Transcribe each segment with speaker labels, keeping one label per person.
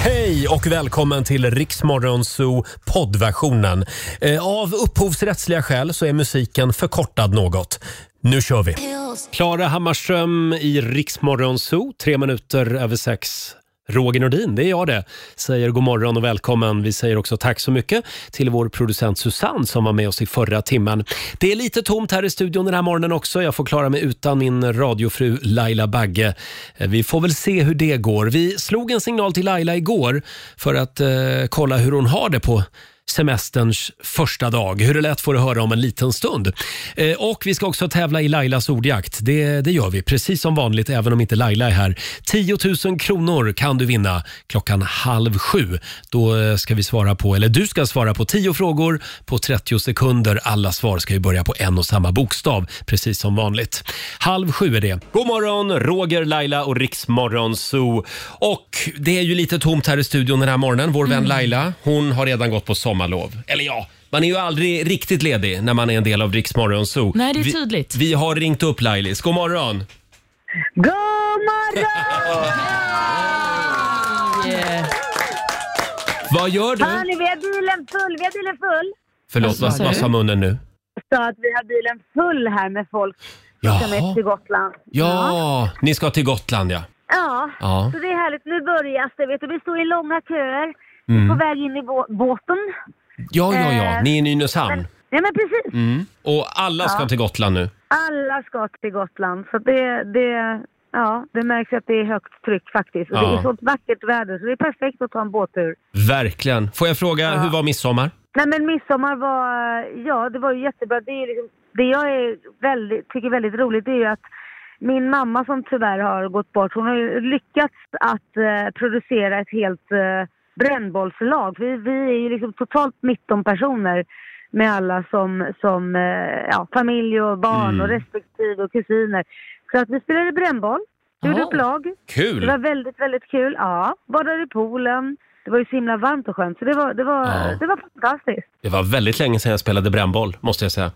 Speaker 1: Hej och välkommen till Riksmorgonzoo poddversionen. Eh, Av upphovsrättsliga skäl så är musiken förkortad något. Nu kör vi! Klara Hammarström i Riksmorgonzoo, tre minuter över sex. Roger Nordin, det är jag det, säger god morgon och välkommen. Vi säger också tack så mycket till vår producent Susanne som var med oss i förra timmen. Det är lite tomt här i studion den här morgonen också. Jag får klara mig utan min radiofru Laila Bagge. Eh, Vi får väl se hur det går. Vi slog en signal till Laila igår för att eh, kolla hur hon har det på semesterns första dag. Hur det lät får du höra om en liten stund. Eh, och vi ska också tävla i Lailas ordjakt. Det, det gör vi, precis som vanligt, även om inte Laila är här. 10 000 kronor kan du vinna klockan halv sju. Då eh, ska vi svara på, eller du ska svara på 10 frågor på 30 sekunder. Alla svar ska ju börja på en och samma bokstav, precis som vanligt. Halv sju är det. God morgon, Roger, Laila och Riksmorgon Zoo. Och det är ju lite tomt här i studion den här morgonen. Vår
Speaker 2: Mm.
Speaker 1: vän Laila, hon har redan gått på sommarlov. Eller ja, man är ju aldrig riktigt ledig när man är en del av Riksmorgon Zoo.
Speaker 2: Nej, det är
Speaker 1: Vi-
Speaker 2: tydligt.
Speaker 1: Vi har ringt upp Lailis. God morgon!
Speaker 3: God morgon!
Speaker 2: Eh,
Speaker 1: Vad gör
Speaker 3: Hör
Speaker 1: du?
Speaker 3: ni, vi har bilen full, vi har bilen full.
Speaker 1: Förlåt, vad,
Speaker 2: sa
Speaker 1: vad
Speaker 2: du?
Speaker 1: sa munnen nu?
Speaker 3: Så att vi har bilen full här med folk som ska med
Speaker 1: Jaha.
Speaker 3: till Gotland.
Speaker 1: Ja, ni ska till Gotland ja.
Speaker 3: Ja.
Speaker 1: Ja.
Speaker 3: Så det är härligt. Nu börjar det. Vet du, vi står i långa köer. På
Speaker 1: Mm.
Speaker 3: väg in i bå- båten.
Speaker 1: Ja, ja, ja.
Speaker 3: Eh,
Speaker 1: Ni är i Nynäshamn.
Speaker 3: Nej men precis.
Speaker 1: Mm. Och alla ska till Gotland nu.
Speaker 3: Alla ska till Gotland. Så det, det, ja, det märks att det är högt tryck faktiskt. Och
Speaker 1: Ja.
Speaker 3: Det är så vackert väder så det är perfekt att ta en båttur.
Speaker 1: Verkligen. Får jag fråga, hur var midsommar?
Speaker 3: Nej men midsommar var, ja det var ju jättebra. Det, är ju liksom, det jag är väldigt, tycker är väldigt roligt det är ju att min mamma som tyvärr har gått bort, hon har ju lyckats att eh, producera ett helt eh, brännbollslag. Vi, vi är ju liksom totalt 19 personer med alla som, som eh, ja, familj och barn
Speaker 1: Mm.
Speaker 3: och respektive och kusiner. Så att vi spelade brännboll, gjorde
Speaker 2: Jaha.
Speaker 3: upp lag. Det var
Speaker 1: Kul!
Speaker 3: väldigt, väldigt kul. Ja, badade i poolen. Det var ju så himla varmt och skönt så det var, det var,
Speaker 1: Ja.
Speaker 3: det var fantastiskt.
Speaker 1: Det var väldigt länge sedan jag spelade brännboll, måste jag säga.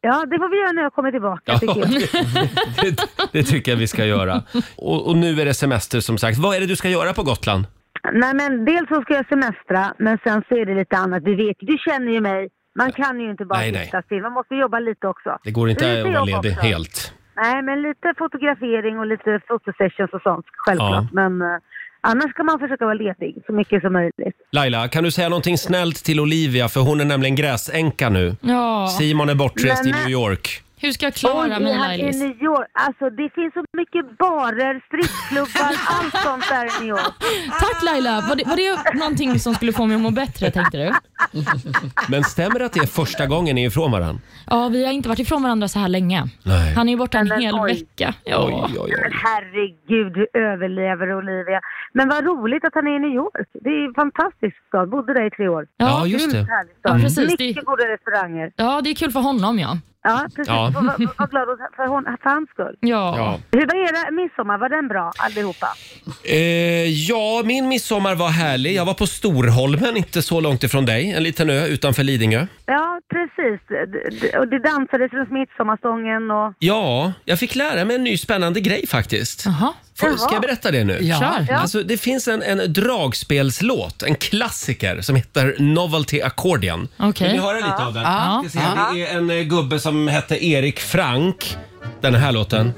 Speaker 3: Ja, det får vi göra när jag kommer tillbaka.
Speaker 1: Ja,
Speaker 3: tycker jag.
Speaker 1: det, det tycker jag vi ska göra. Och, och nu är det semester som sagt. Vad är det du ska göra på Gotland?
Speaker 3: Nej, men dels så ska jag semestra, men sen så är det lite annat. Du vet, du känner ju mig. Man kan ju inte bara
Speaker 1: Nej, nej.
Speaker 3: sitta still. Man måste jobba lite också.
Speaker 1: Det går inte
Speaker 3: Lite
Speaker 1: att vara
Speaker 3: jobb
Speaker 1: ledig
Speaker 3: också.
Speaker 1: helt.
Speaker 3: Nej, men lite fotografering och lite fotosessions och sånt, självklart.
Speaker 1: Ja.
Speaker 3: Men eh, annars ska man försöka vara ledig så mycket som möjligt.
Speaker 1: Laila, kan du säga någonting snällt till Olivia? För hon är nämligen gräsänka nu.
Speaker 2: ja.
Speaker 1: Simon är bortrest i
Speaker 3: Men-
Speaker 1: New York.
Speaker 2: Hur ska jag
Speaker 3: Oj,
Speaker 2: klara mig
Speaker 3: han är i
Speaker 2: Lailis?
Speaker 3: New York. Alltså, det finns så mycket barer, strippklubbar, allt sånt där i New York.
Speaker 2: Tack Laila! Var det, var det någonting som skulle få mig att må bättre tänkte du?
Speaker 1: Men stämmer det att det är första gången ni är ifrån varandra?
Speaker 2: Ja, vi har inte varit ifrån varandra så här länge.
Speaker 1: Nej.
Speaker 2: Han är ju borta en
Speaker 3: Men
Speaker 2: hel
Speaker 3: oj.
Speaker 2: vecka. Ja.
Speaker 1: Oj, oj,
Speaker 3: Men
Speaker 1: oj.
Speaker 3: herregud, hur överlever Olivia? Men vad roligt att han är i New York. Det är en fantastisk stad. Bodde där i tre år.
Speaker 1: Ja,
Speaker 2: Ja,
Speaker 1: just det.
Speaker 3: Grymt härlig stad.
Speaker 2: Ja, precis. Det-
Speaker 3: Mycket goda restauranger.
Speaker 2: ja, det är kul för honom ja.
Speaker 3: Ja, precis.
Speaker 1: Ja.
Speaker 3: Och var, var glad åt- för, hon, för hans skull.
Speaker 2: Ja.
Speaker 1: Ja.
Speaker 3: Hur var era midsommar? Var den bra allihopa?
Speaker 1: Eh, ja, min midsommar var härlig. Jag var på Storholmen, inte så långt ifrån dig. En liten ö utanför Lidingö.
Speaker 3: Ja, precis. D- d- Och det dansades runt midsommarstången och...
Speaker 1: Ja, jag fick lära mig en ny spännande grej faktiskt.
Speaker 2: Jaha.
Speaker 1: Får, ska
Speaker 3: Jaha.
Speaker 1: jag berätta det nu?
Speaker 2: Ja. Kör.
Speaker 3: Ja.
Speaker 1: Alltså, det finns en, en dragspelslåt, en klassiker som heter Novelty Accordion.
Speaker 2: Okej.
Speaker 1: Vill ni höra lite av den?
Speaker 2: Ja.
Speaker 1: Ska se här, Det är en eh, gubbe som hette Erik Frank. Den här låten.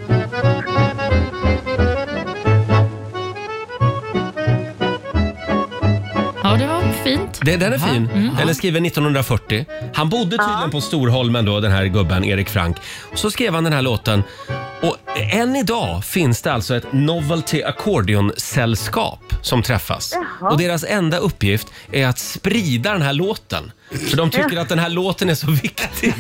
Speaker 2: Ja, det var fint.
Speaker 1: Det, den är fin.
Speaker 3: Mm.
Speaker 1: Den är skriven 1940. Han bodde tydligen på Storholmen då, den här gubben Erik Frank. Och så skrev han den här låten. Och än idag finns det alltså ett Novelty Accordion-sällskap som träffas.
Speaker 3: Jaha.
Speaker 1: Och deras enda uppgift är att sprida den här låten. För de tycker att den här låten är så viktig.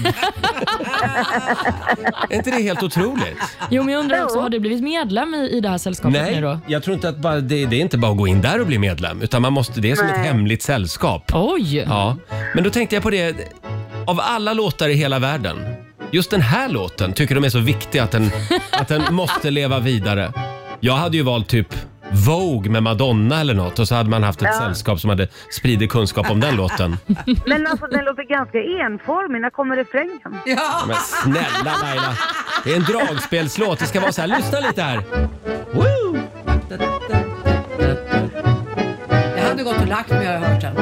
Speaker 1: är inte det helt otroligt?
Speaker 2: Jo, men jag undrar också,
Speaker 3: Jo.
Speaker 2: har du blivit medlem i, i det här sällskapet nu
Speaker 1: Nej,
Speaker 2: då?
Speaker 1: jag tror inte att bara, det, det är inte bara att gå in där och bli medlem. Utan man måste, det är som ett
Speaker 3: Nej.
Speaker 1: hemligt sällskap.
Speaker 2: Oj!
Speaker 1: Ja, men då tänkte jag på det. Av alla låtar i hela världen, just den här låten tycker de är så viktig att den, att den måste leva vidare. Jag hade ju valt typ Vogue med Madonna eller något och så hade man haft ett sällskap som hade spridit kunskap om den låten.
Speaker 3: Men alltså den låter ganska enformig. När kommer refrängen?
Speaker 1: Ja, Men snälla Laila, det är en dragspelslåt. Det ska vara så här, lyssna lite här. Woo!
Speaker 4: Det hade gått och lagt mig har jag hört den.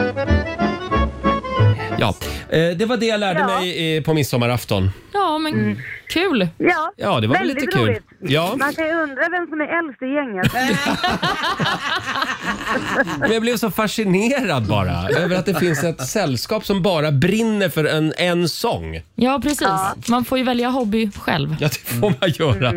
Speaker 1: Ja, eh, det var det jag lärde
Speaker 3: Ja.
Speaker 1: mig eh, på midsommarafton.
Speaker 2: Ja, men
Speaker 3: Mm.
Speaker 2: kul.
Speaker 3: Ja,
Speaker 1: Ja, det var väl
Speaker 3: väldigt
Speaker 1: lite kul.
Speaker 3: roligt.
Speaker 1: Ja.
Speaker 3: Man kan ju undra vem som är äldst i gänget.
Speaker 1: Men jag blev så fascinerad bara över att det finns ett sällskap som bara brinner för en, en sång.
Speaker 2: Ja, precis. Man får ju välja hobby själv.
Speaker 1: Ja, det får man göra.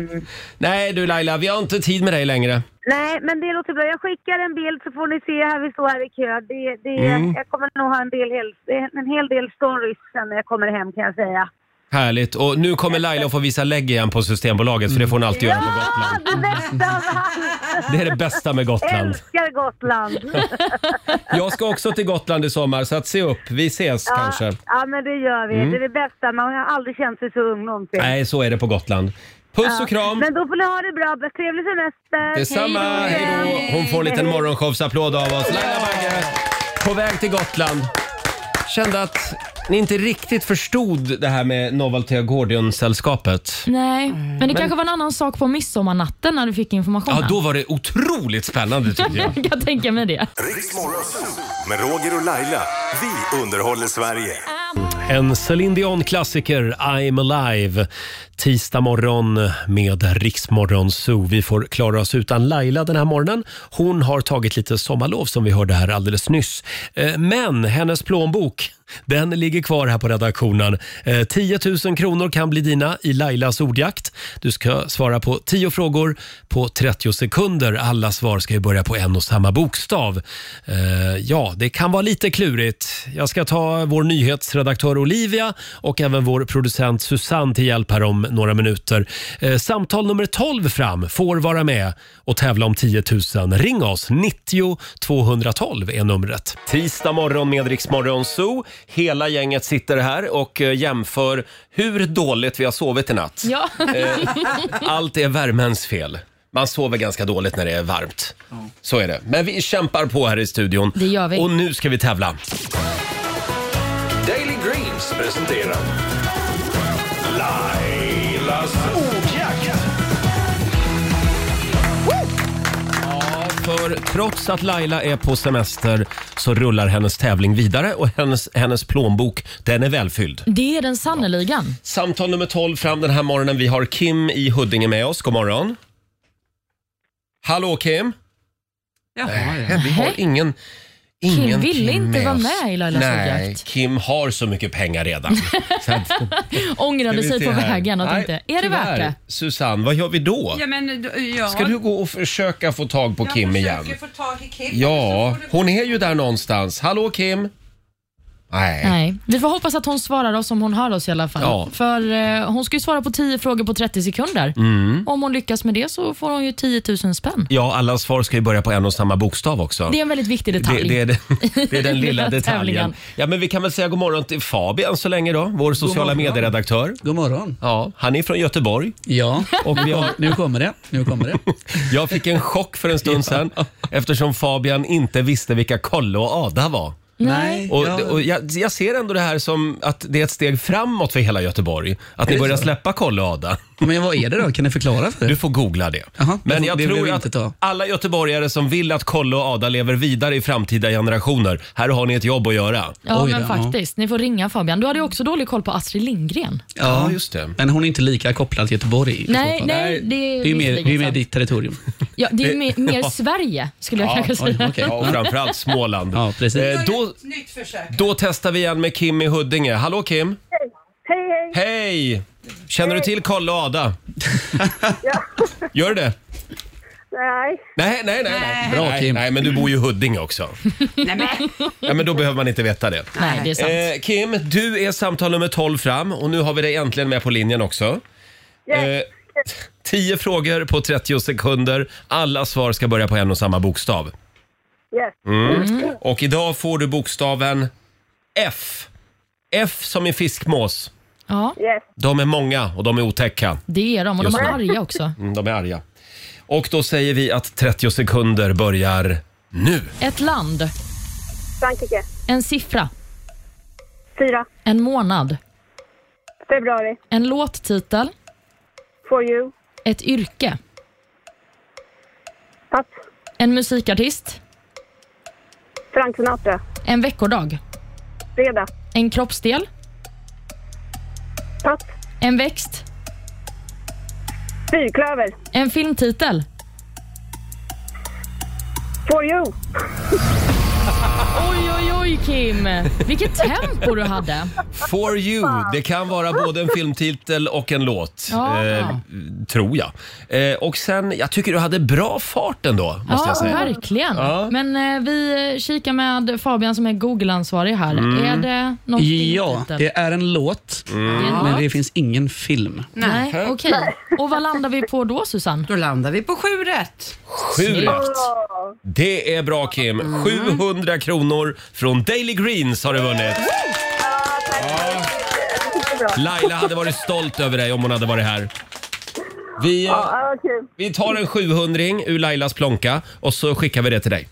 Speaker 1: Nej du Laila, vi har inte tid med dig längre.
Speaker 3: Nej, men det låter bra. Jag skickar en bild så får ni se här vi står här i kö. Det, det,
Speaker 1: Mm.
Speaker 3: Jag kommer nog ha en, del, hel- en hel del stories sen när jag kommer hem kan jag säga.
Speaker 1: Härligt. Och nu kommer Laila att få visa lägg igen på Systembolaget för det får hon alltid göra på
Speaker 3: Ja,
Speaker 1: Gotland.
Speaker 3: det bästa av allt!
Speaker 1: Det är det bästa med Gotland.
Speaker 3: Älskar Gotland!
Speaker 1: Jag ska också till Gotland i sommar så att se upp. Vi ses kanske. Mm.
Speaker 3: Ja, men det gör vi. Det är det bästa. Man har aldrig känt sig så ung någonsin.
Speaker 1: Nej, så är det på Gotland. Puss och kram!
Speaker 3: Men då får ni ha det bra. Trevlig semester!
Speaker 1: Detsamma!
Speaker 2: Hej
Speaker 1: Hej
Speaker 2: då.
Speaker 1: då! Hon får en liten morgonshowsapplåd av oss. Laila Bagge, på väg till Gotland. Kände att ni inte riktigt förstod det här med Novaltea Gordion-sällskapet.
Speaker 2: Nej, men det kanske var en annan sak på midsommarnatten när du fick informationen.
Speaker 1: Ja, då var det otroligt spännande tyckte jag.
Speaker 2: jag kan tänka mig det.
Speaker 5: Riksmorgon Zoo med Roger och Laila. Vi underhåller Sverige.
Speaker 1: En Celine Dion-klassiker, I'm alive. Tisdag morgon med Riksmorgon Zoo. Vi får klara oss utan Laila den här morgonen. Hon har tagit lite sommarlov som vi hörde här alldeles nyss. Eh, Men hennes plånbok, den ligger kvar här på redaktionen. Eh, 10 000 kronor kan bli dina i Lailas ordjakt. Du ska svara på 10 frågor på 30 sekunder. Alla svar ska ju börja på en och samma bokstav. Eh, Ja, det kan vara lite klurigt. Jag ska ta vår nyhetsredaktör Olivia och även vår producent Susanne till hjälp här om några minuter. Eh, Samtal nummer 12 fram får vara med och tävla om 10 000. Ring oss! 90 212 är numret. Tisdag morgon med Rix Morgon Zoo. Hela gänget sitter här och eh, jämför hur dåligt vi har sovit i natt.
Speaker 2: Ja.
Speaker 1: Allt är värmens fel. Man sover ganska dåligt när det är varmt. Så är det. Men vi kämpar på här i studion.
Speaker 2: Det gör vi.
Speaker 1: Och nu ska vi tävla.
Speaker 5: Daily Greens presenterar Lailas ordjakt.
Speaker 1: För trots att Laila är på semester så rullar hennes tävling vidare och hennes, hennes plånbok, den är välfylld.
Speaker 2: Det är den sannolikan.
Speaker 1: Samtal nummer 12 fram den här morgonen. Vi har Kim i Huddinge med oss. God morgon. Hallå Kim.
Speaker 4: Jaha, ja.
Speaker 1: Nej, Vi har ingen... Ingen
Speaker 2: Kim ville inte
Speaker 1: med
Speaker 2: vara
Speaker 1: oss.
Speaker 2: med i Lailas
Speaker 1: Nej,
Speaker 2: ordjakt.
Speaker 1: Kim har så mycket pengar redan. Så att-
Speaker 2: Ångrade
Speaker 1: Ska vi
Speaker 2: sig
Speaker 1: se
Speaker 2: på
Speaker 1: här.
Speaker 2: vägen och
Speaker 1: Nej,
Speaker 2: tänkte, är det värt
Speaker 1: tyvärr.
Speaker 2: det?
Speaker 1: Susanne, vad gör vi då?
Speaker 4: ja men då- ja.
Speaker 1: Ska du gå och försöka få tag på Kim igen?
Speaker 4: Jag försöker få tag i Kim.
Speaker 1: Ja,
Speaker 4: så får du-
Speaker 1: hon är ju där någonstans. Hallå Kim? Nej.
Speaker 2: Nej. Vi får hoppas att hon svarar oss om hon hör oss i alla fall.
Speaker 1: Ja.
Speaker 2: För eh, hon ska ju svara på 10 frågor på 30 sekunder.
Speaker 1: Mm.
Speaker 2: Om hon lyckas med det så får hon ju 10 000 spänn.
Speaker 1: Ja, alla svar ska ju börja på en och samma bokstav också.
Speaker 2: Det är en väldigt viktig detalj.
Speaker 1: Det, det, är, den- det är den lilla
Speaker 2: Lilla
Speaker 1: detaljen.
Speaker 2: tävlingen.
Speaker 1: Ja, men vi kan väl säga god morgon till Fabian så länge då, vår sociala
Speaker 6: morgon.
Speaker 1: medieredaktör.
Speaker 6: God morgon.
Speaker 1: Ja, han är från Göteborg.
Speaker 6: Ja,
Speaker 1: Och vi har,
Speaker 6: nu kommer det. Nu kommer det.
Speaker 1: jag fick en chock för en stund sedan eftersom Fabian inte visste vilka Kalle och Ada var.
Speaker 2: Nej.
Speaker 1: Och,
Speaker 6: jag-
Speaker 1: och jag, jag ser ändå det här som att det är ett steg framåt för hela Göteborg. Att ni börjar släppa Kalle och Ada.
Speaker 6: men vad är det då? Kan ni förklara för
Speaker 1: Du får googla det.
Speaker 6: Jaha, det
Speaker 1: Men
Speaker 6: får-
Speaker 1: jag
Speaker 6: det vill
Speaker 1: tror
Speaker 6: vi
Speaker 1: att
Speaker 6: inte ta.
Speaker 1: alla göteborgare som vill att Kalle och Ada lever vidare i framtida generationer, här har ni ett jobb att göra.
Speaker 2: Ja,
Speaker 6: Oj då,
Speaker 2: men
Speaker 6: ja.
Speaker 2: faktiskt. Ni får ringa Fabian. Du hade ju också dålig koll på Astrid Lindgren.
Speaker 1: Ja, just det.
Speaker 6: Men hon är inte lika kopplad till Göteborg i så
Speaker 2: Nej,
Speaker 6: fall.
Speaker 2: nej, det är
Speaker 6: Det är ju mer, det är ju mer ditt territorium.
Speaker 2: Ja, det är ju mer, mer Sverige, skulle jag kanske
Speaker 6: Oj,
Speaker 2: säga.
Speaker 6: okej.
Speaker 1: Ja, och framförallt Småland.
Speaker 6: Ja, precis.
Speaker 1: Eh, då,
Speaker 4: Nytt försök.
Speaker 1: då testar vi igen med Kim i Huddinge. Hallå Kim!
Speaker 3: Hej, hej!
Speaker 1: Hej! Känner du till Kalle och Ada? Gör du det?
Speaker 3: Nej.
Speaker 1: Nej, nej, nej. nej.
Speaker 6: Bra,
Speaker 1: nej,
Speaker 6: Kim.
Speaker 1: nej, men du bor ju i Huddinge också.
Speaker 4: Nej, men,
Speaker 1: Ja, men då behöver man inte veta det.
Speaker 2: Nej, det är sant.
Speaker 1: Eh, Kim, du är samtal nummer 12 fram och nu har vi dig äntligen med på linjen också. Eh, 10 frågor på 30 sekunder. Alla svar ska börja på en och samma bokstav.
Speaker 3: Yes.
Speaker 1: Mm. Och idag får du bokstaven F. F som i fiskmås.
Speaker 2: Ja,
Speaker 3: Yes.
Speaker 1: De är många och de är otäcka.
Speaker 2: det är de. Och de
Speaker 1: Just
Speaker 2: är
Speaker 1: det.
Speaker 2: arga också.
Speaker 1: Mm, De är arga. Och då säger vi att 30 sekunder börjar nu.
Speaker 2: Ett land,
Speaker 3: Frankrike.
Speaker 2: en siffra,
Speaker 3: Fyra.
Speaker 2: en månad,
Speaker 3: Februari.
Speaker 2: en låttitel,
Speaker 3: For you.
Speaker 2: ett yrke,
Speaker 3: Pass.
Speaker 2: en musikartist,
Speaker 7: Frank Sinatra.
Speaker 2: En veckodag.
Speaker 7: Fredag.
Speaker 2: En kroppsdel.
Speaker 7: Pass.
Speaker 2: En växt.
Speaker 7: Fyrklöver.
Speaker 2: En filmtitel.
Speaker 7: For you.
Speaker 2: Oj, oj, oj Kim! Vilket tempo du hade.
Speaker 1: For you. Det kan vara både en filmtitel och en låt.
Speaker 2: Ja.
Speaker 1: Eh, tror jag. Eh, och sen, jag tycker du hade bra fart ändå, måste
Speaker 2: Ja,
Speaker 1: jag säga.
Speaker 2: verkligen.
Speaker 1: Ja.
Speaker 2: Men eh, vi kikar med Fabian som är Google-ansvarig här.
Speaker 1: Mm.
Speaker 2: Är det något
Speaker 6: Ja, det är en låt,
Speaker 2: Mm.
Speaker 6: men det finns ingen film.
Speaker 2: Nej, okej. Och vad landar vi på då, Susanne?
Speaker 4: Då landar vi på sju rätt.
Speaker 1: Sju rätt. Det är bra Kim.
Speaker 2: Mm.
Speaker 1: 700 kronor från Daily Greens har du vunnit.
Speaker 7: Bra.
Speaker 1: Laila hade varit stolt över dig om hon hade varit här. Vi, eh,
Speaker 7: Ja, vad kul.
Speaker 1: vi tar en 700 ur Lailas plånka och så skickar vi det till dig.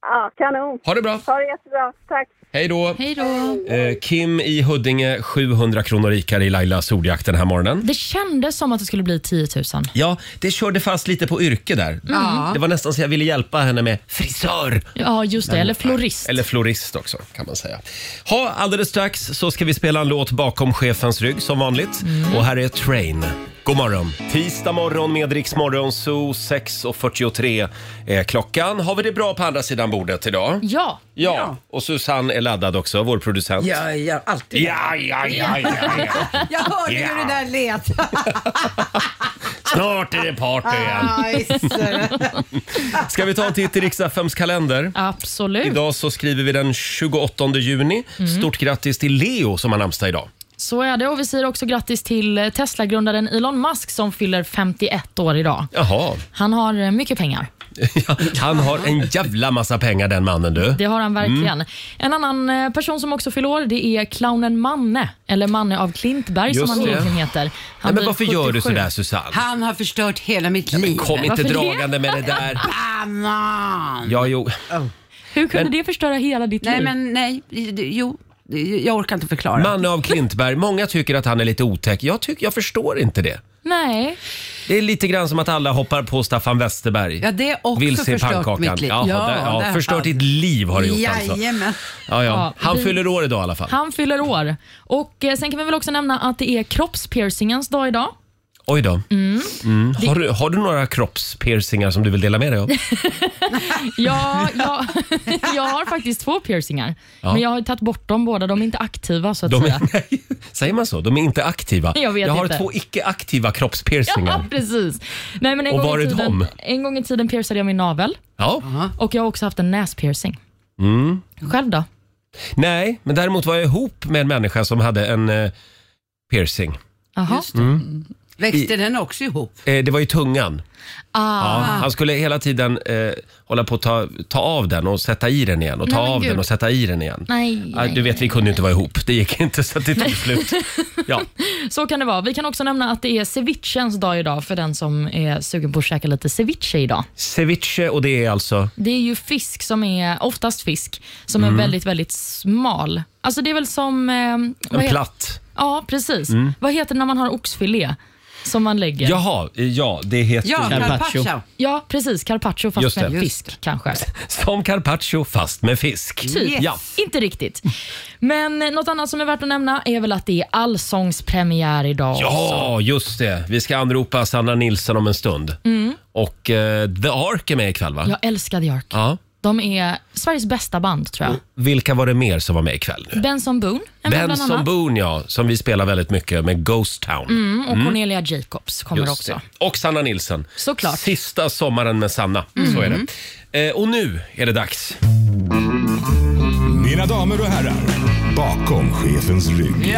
Speaker 7: Ja, kanon.
Speaker 1: Ha det bra.
Speaker 7: Ha det jättebra. Tack.
Speaker 1: Hej då.
Speaker 2: Hej då.
Speaker 1: Eh, Kim i Huddinge, 700 kronor rikare i Lailas ordjakt den här morgonen.
Speaker 2: Det kändes som att det skulle bli 10 000.
Speaker 1: Ja, det körde fast lite på yrke där.
Speaker 4: Ja.
Speaker 1: Det var nästan så jag ville hjälpa henne med frisör
Speaker 2: Ja, just det. Eller florist.
Speaker 1: Eller florist också kan man säga. Ha, alldeles strax så ska vi spela en låt bakom chefens rygg som vanligt. Och här är Train. God morgon! Tisdag morgon med Rix Morgon Zoo 6.43 är klockan. Har vi det bra på andra sidan bordet idag? Ja,
Speaker 2: Ja.
Speaker 1: och Susanne är laddad också, vår producent.
Speaker 4: Ja, ja, alltid.
Speaker 1: Ja, ja, ja, ja, ja.
Speaker 4: Jag hörde
Speaker 1: Ja.
Speaker 4: hur det där lät.
Speaker 1: Snart är det party igen.
Speaker 4: Aj, så-
Speaker 1: Ska vi ta en titt i Rix FMs kalender?
Speaker 2: Absolut.
Speaker 1: Idag så skriver vi den 28 juni. Stort grattis till Leo som har namnsdag idag.
Speaker 2: Så är det. Och vi säger också grattis till eh, Tesla-grundaren Elon Musk som fyller 51 år idag.
Speaker 1: Jaha.
Speaker 2: Han har eh, mycket pengar.
Speaker 1: Ja, han har en jävla massa pengar den mannen du.
Speaker 2: Det har han
Speaker 1: Mm.
Speaker 2: verkligen. En annan eh, person som också fyller år det är clownen Manne, eller Manne av Klintberg
Speaker 1: Just
Speaker 2: som han
Speaker 1: det.
Speaker 2: egentligen heter. Han
Speaker 1: Nej, men
Speaker 2: blir
Speaker 1: varför gör du
Speaker 2: 77.
Speaker 1: sådär Susanne?
Speaker 4: Han har förstört hela mitt liv.
Speaker 1: Kom inte
Speaker 2: Varför det?
Speaker 1: dragande med det där.
Speaker 4: Annan.
Speaker 1: Ja, jo.
Speaker 2: Hur kunde det förstöra hela ditt
Speaker 4: Nej,
Speaker 2: liv?
Speaker 4: men nej. Jo, jag orkar inte förklara.
Speaker 1: Manne av Klintberg, många tycker att han är lite otäck. Jag, tycker, jag förstår inte det.
Speaker 2: Nej.
Speaker 1: Det är lite grann som att alla hoppar på Staffan Westerberg.
Speaker 4: Ja, det är också
Speaker 1: Vill se
Speaker 4: förstört
Speaker 1: pannkakan.
Speaker 4: mitt liv.
Speaker 1: Jaha,
Speaker 4: Ja,
Speaker 1: där, ja,
Speaker 4: där
Speaker 1: förstört
Speaker 4: fan.
Speaker 1: ditt liv har det gjort alltså.
Speaker 4: Jajamän.
Speaker 1: Ja, ja.
Speaker 2: Ja,
Speaker 1: Han
Speaker 2: vi-
Speaker 1: fyller år idag i alla fall.
Speaker 2: Han fyller år. Och eh, Sen kan vi väl också nämna att det är kroppspiercingens dag idag.
Speaker 1: Oj då. Mm. Har, du, har du några kroppspiercingar som du vill dela med dig av?
Speaker 2: Ja, jag, jag har faktiskt två piercingar, men jag har tagit bort dem båda. De är inte aktiva så att
Speaker 1: De
Speaker 2: säga.
Speaker 1: är, nej, säger man så? De är inte aktiva.
Speaker 2: Jag vet
Speaker 1: har
Speaker 2: inte.
Speaker 1: två icke-aktiva
Speaker 2: Ja,
Speaker 1: kroppspiercingar.
Speaker 2: precis. Nej, men en
Speaker 1: Och
Speaker 2: gång i
Speaker 1: var är
Speaker 2: tiden,
Speaker 1: de?
Speaker 2: En gång i tiden piercade jag min navel
Speaker 1: Ja.
Speaker 2: och jag har också haft en näspiercing.
Speaker 1: Mm.
Speaker 2: Själv då?
Speaker 1: Nej, men däremot var jag ihop med en människa som hade en eh, piercing.
Speaker 2: Jaha.
Speaker 1: Mm.
Speaker 4: Växte den också ihop?
Speaker 1: Eh, det var i tungan.
Speaker 2: Ah.
Speaker 1: Ja, han skulle hela tiden eh, hålla på att ta, ta av den och sätta i den igen och ta
Speaker 2: Nej, men
Speaker 1: av
Speaker 2: gud.
Speaker 1: den och sätta i den igen.
Speaker 2: Nej,
Speaker 1: Ah, du vet, vi kunde ju inte vara ihop. Det gick inte så att det tog slut. Ja.
Speaker 2: Så kan det vara. Vi kan också nämna att det är cevichens dag idag för den som är sugen på att käka lite ceviche idag.
Speaker 1: Ceviche och det är alltså...
Speaker 2: Det är ju fisk som är, oftast fisk, som
Speaker 1: Mm.
Speaker 2: är väldigt, väldigt smal. Alltså det är väl som... Eh, vad
Speaker 1: En
Speaker 2: he-
Speaker 1: platt.
Speaker 2: Ja, precis. Vad heter det när man har oxfilé som man lägger?
Speaker 1: Jaha, eh, ja det heter...
Speaker 4: Ja,
Speaker 6: Carpaccio.
Speaker 4: carpaccio.
Speaker 2: Ja, precis. Carpaccio
Speaker 1: Just
Speaker 2: fast
Speaker 1: det.
Speaker 2: med
Speaker 4: Just
Speaker 2: fisk kanske.
Speaker 1: Som carpaccio fast med fisk.
Speaker 2: Typ.
Speaker 4: Yes.
Speaker 1: Ja.
Speaker 2: Inte riktigt. Men eh, något annat som är värt att nämna är väl att det är allsångspremiär idag.
Speaker 1: Ja, just det. Vi ska anropa Sanna Nilsson om en stund.
Speaker 2: Mm.
Speaker 1: Och eh, The Ark är med ikväll va?
Speaker 2: Jag älskar The Ark.
Speaker 1: Ja.
Speaker 2: De är Sveriges bästa band tror jag.
Speaker 1: Vilka var det mer som var med ikväll? nu?
Speaker 2: Benson Boone är med bland
Speaker 1: Benson
Speaker 2: annat.
Speaker 1: Boone ja, som vi spelar väldigt mycket med Ghost Town.
Speaker 2: Mm, och Cornelia Jacobs kommer
Speaker 1: Just
Speaker 2: också.
Speaker 1: det. Och Sanna Nilsson.
Speaker 2: Såklart. Mm.
Speaker 1: Sista sommaren med Sanna. Så är det. Eh, och nu är det dags.
Speaker 5: Mina damer och herrar, bakom chefens rygg.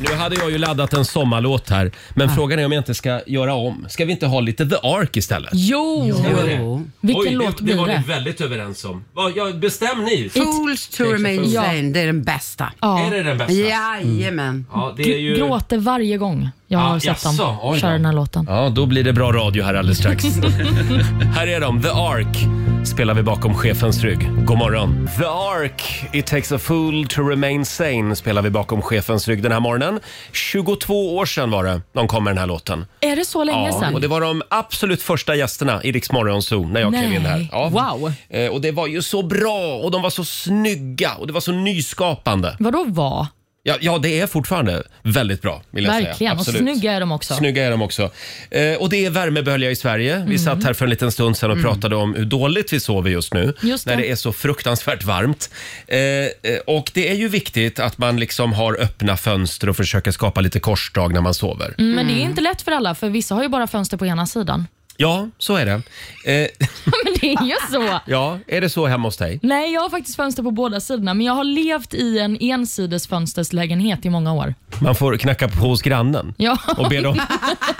Speaker 1: Nu hade jag ju laddat en sommarlåt här, men frågan är om jag inte ska göra om. Ska vi inte ha lite The Ark istället?
Speaker 2: Jo!
Speaker 4: Jo.
Speaker 2: Vilken
Speaker 1: Oj,
Speaker 2: låt
Speaker 1: det,
Speaker 2: blir
Speaker 1: det
Speaker 2: det?
Speaker 1: var ni väldigt överens om. Vad- ja, Bestäm ni.
Speaker 4: Fools to remain
Speaker 2: Ja.
Speaker 4: sane, det är den bästa.
Speaker 2: Ja.
Speaker 1: Är det den bästa?
Speaker 4: Jajamän.
Speaker 1: Ja, det är ju...
Speaker 2: Gråter varje gång. Jag har
Speaker 1: Ah,
Speaker 2: sett
Speaker 1: jaså,
Speaker 2: dem
Speaker 1: oj då.
Speaker 2: köra den här låten.
Speaker 1: Ja, då blir det bra radio här alldeles strax. här är de, The Ark spelar vi bakom chefens rygg. God morgon. The Ark, It takes a fool to remain sane spelar vi bakom chefens rygg den här morgonen. 22 år sedan var det de kom med den här låten.
Speaker 2: Är det så länge
Speaker 1: Ja,
Speaker 2: sedan?
Speaker 1: och det var de absolut första gästerna i Rix Morgon Zoo när jag klev in här.
Speaker 2: Nej. Wow.
Speaker 1: Eh, Och det var ju så bra och de var så snygga och det var så nyskapande.
Speaker 2: Vadå var?
Speaker 1: Ja, ja det är fortfarande väldigt bra vill jag säga.
Speaker 2: Verkligen. Och snygga är de också. Mm.
Speaker 1: Snygga är de också. Eh, och det är värmebölja i Sverige. Vi satt här för en liten stund sedan och pratade om hur dåligt vi sover just nu.
Speaker 2: Just det.
Speaker 1: När det är så fruktansvärt varmt. Eh, eh, och det är ju viktigt att man liksom har öppna fönster och försöker skapa lite korsdrag när man sover.
Speaker 2: Mm, Men det är inte lätt för alla, för vissa har ju bara fönster på ena sidan.
Speaker 1: Ja, så är det. Eh,
Speaker 2: Men det är ju så.
Speaker 1: ja, är det så hemma hos dig?
Speaker 2: Nej, jag har faktiskt fönster på båda sidorna, men jag har levt i en ensidesfönsterslägenhet i många år.
Speaker 1: Man får knacka på hos grannen
Speaker 2: Ja,
Speaker 1: och be dem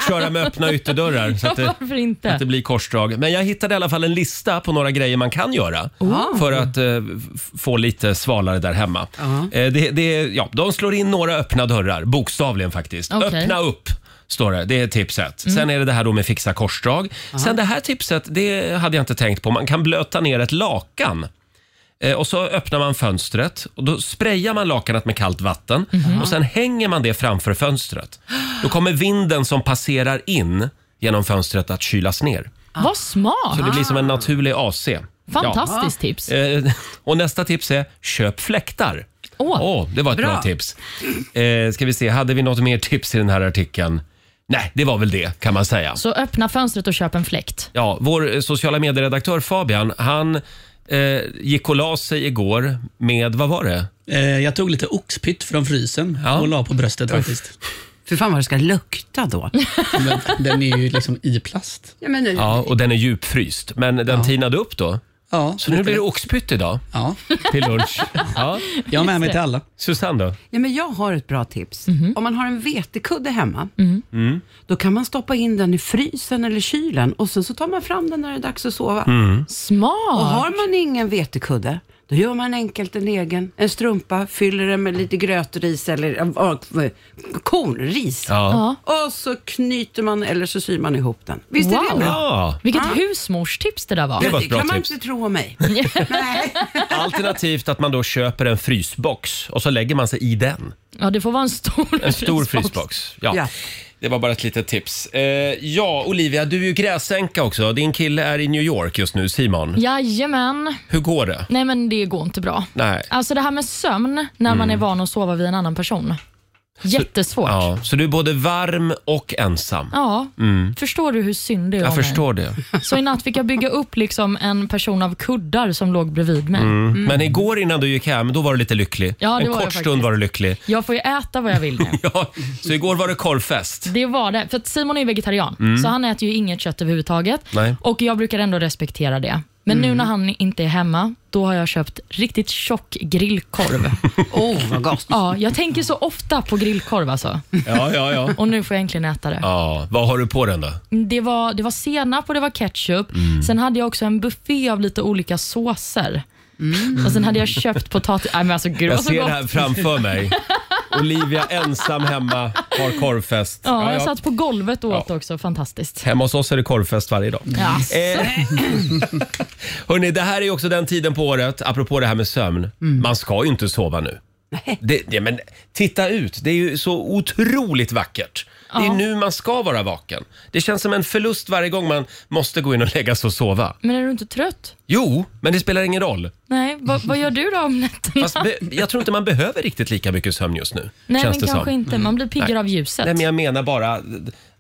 Speaker 1: köra med öppna ytterdörrar. Så att det,
Speaker 2: varför inte?
Speaker 1: att det blir korsdrag. Men jag hittade i alla fall en lista på några grejer man kan göra
Speaker 2: Oh.
Speaker 1: för att eh, f- få lite svalare där hemma. Eh, det, det, ja, de slår in några öppna dörrar, bokstavligen faktiskt.
Speaker 2: Okej. Mm.
Speaker 1: Öppna upp. Står det. Det är tipset. Sen är det det här då med fixa korsdrag. Sen det här tipset, det hade jag inte tänkt på. Man kan blöta ner ett lakan. Eh, Och så öppnar man fönstret och då sprayar man lakanet med kallt vatten
Speaker 2: Mhm.
Speaker 1: och sen hänger man det framför fönstret. Då kommer vinden som passerar in genom fönstret att kylas ner.
Speaker 4: Ah.
Speaker 2: Vad
Speaker 1: Så det
Speaker 2: smart!
Speaker 1: blir som en naturlig AC.
Speaker 2: Ah.
Speaker 4: Ah.
Speaker 2: Fantastiskt tips.
Speaker 1: Ja. Eh, Och nästa tips är köp fläktar.
Speaker 2: Åh.
Speaker 1: det var ett bra,
Speaker 4: Bra.
Speaker 1: tips. Eh, ska vi se, hade vi något mer tips i den här artikeln? Nej, det var väl det kan man säga.
Speaker 2: Så öppna fönstret och köp en fläkt.
Speaker 1: Ja, vår eh, sociala medieredaktör Fabian, han eh, gick och la sig igår med, vad var det?
Speaker 6: Eh, Jag tog lite oxpytt från frysen
Speaker 1: Ja.
Speaker 6: och la på bröstet faktiskt.
Speaker 4: För fan vad det ska lukta då.
Speaker 6: Den, den är ju liksom i plast.
Speaker 4: Ja, men nu.
Speaker 1: Ja, och den är djupfryst. Men den tinade upp då.
Speaker 6: Ja,
Speaker 1: Så nu
Speaker 6: lite-
Speaker 1: blir det oxpytt idag
Speaker 6: Ja,
Speaker 1: till lunch. Ja.
Speaker 6: jag har med mig till alla.
Speaker 1: Susanne då?
Speaker 4: Ja, men jag har ett bra tips. Om man har en vetekudde hemma, då kan man stoppa in den i frysen eller kylen och sen så tar man fram den när det är dags att sova. Och
Speaker 2: Smart!
Speaker 4: har man ingen vetekudde, då gör man enkelt en egen. En strumpa, fyller den med lite gröt och ris eller äh, äh, kornris.
Speaker 1: Ja.
Speaker 4: Och så knyter man eller så syr man ihop den. Visst är
Speaker 2: Wow.
Speaker 4: det bra?
Speaker 1: ja.
Speaker 2: Vilket
Speaker 4: Ah.
Speaker 2: husmorstips det där var.
Speaker 1: Det var ett bra
Speaker 4: kan man
Speaker 1: tips.
Speaker 4: inte tro om mig. Nej.
Speaker 1: Alternativt att man då köper en frysbox och så lägger man sig i den.
Speaker 2: Ja, det får vara en stor,
Speaker 1: En stor frysbox. Ja.
Speaker 4: Ja.
Speaker 1: Det var bara ett litet tips. Eh, ja, Olivia, du är ju gräsänka också. Din kille är i New York just nu, Simon.
Speaker 2: Jajamän.
Speaker 1: Hur går det?
Speaker 2: Nej, men det går inte bra.
Speaker 1: Nej. Mm.
Speaker 2: Alltså det här med sömn när man är van att sova vid en annan person. Jättesvårt. Ja.
Speaker 1: Ja, så du är både varm och ensam.
Speaker 2: Förstår du hur synd det är
Speaker 1: Mm. Jag
Speaker 2: av mig?
Speaker 1: förstår det.
Speaker 2: Så i natt fick jag bygga upp liksom en person av kuddar som låg bredvid mig.
Speaker 1: Men igår innan du gick hem, då var du lite lycklig.
Speaker 2: Mm. Ja, det
Speaker 1: en
Speaker 2: var
Speaker 1: kort
Speaker 2: jag
Speaker 1: stund
Speaker 2: faktiskt.
Speaker 1: var du lycklig.
Speaker 2: Jag får ju äta vad jag vill nu.
Speaker 1: Ja, så igår var det korvfest.
Speaker 2: Det var det. För att Simon är ju vegetarian, så han äter ju inget kött överhuvudtaget.
Speaker 1: Mm. Nej. Mm.
Speaker 2: Och jag brukar ändå respektera det. Men nu när han inte är hemma, då har jag köpt riktigt tjock grillkorv.
Speaker 4: oh, vad gott.
Speaker 2: ja, jag tänker så ofta på grillkorv alltså.
Speaker 1: Ja, ja, ja.
Speaker 2: Och nu får jag äntligen äta det.
Speaker 1: Ja, vad har du på den då?
Speaker 2: Det var, det var senap och det var ketchup.
Speaker 1: Mm.
Speaker 2: Sen hade jag också en buffé av lite olika såser. Och sen hade jag köpt potatis... Nej men alltså gud
Speaker 1: Mm. Jag
Speaker 2: vad så
Speaker 1: ser
Speaker 2: gott.
Speaker 1: det här framför mig. Olivia ensam hemma har korvfest.
Speaker 2: Ja,
Speaker 1: Ja,
Speaker 2: jag
Speaker 1: ja.
Speaker 2: satt på golvet och åt också. Fantastiskt.
Speaker 1: Hemma hos oss är det korvfest varje dag.
Speaker 2: Ja.
Speaker 1: Eh, hörni, det här är ju också den tiden på året, apropå det här med sömn.
Speaker 2: Mm.
Speaker 1: Man ska ju inte sova nu. Det, ja, men titta ut, det är ju så otroligt vackert. Det är nu man ska vara vaken. Det känns som en förlust varje gång man måste gå in och lägga sig och sova.
Speaker 2: Men är du inte trött?
Speaker 1: Jo, men det spelar ingen roll.
Speaker 2: Nej, vad, vad gör du då om nätterna?
Speaker 1: Fast be, jag tror inte man behöver riktigt lika mycket sömn just nu.
Speaker 2: Nej,
Speaker 1: känns
Speaker 2: men
Speaker 1: det
Speaker 2: kanske
Speaker 1: som.
Speaker 2: inte. Man blir piggare av ljuset.
Speaker 1: Nej, men jag menar bara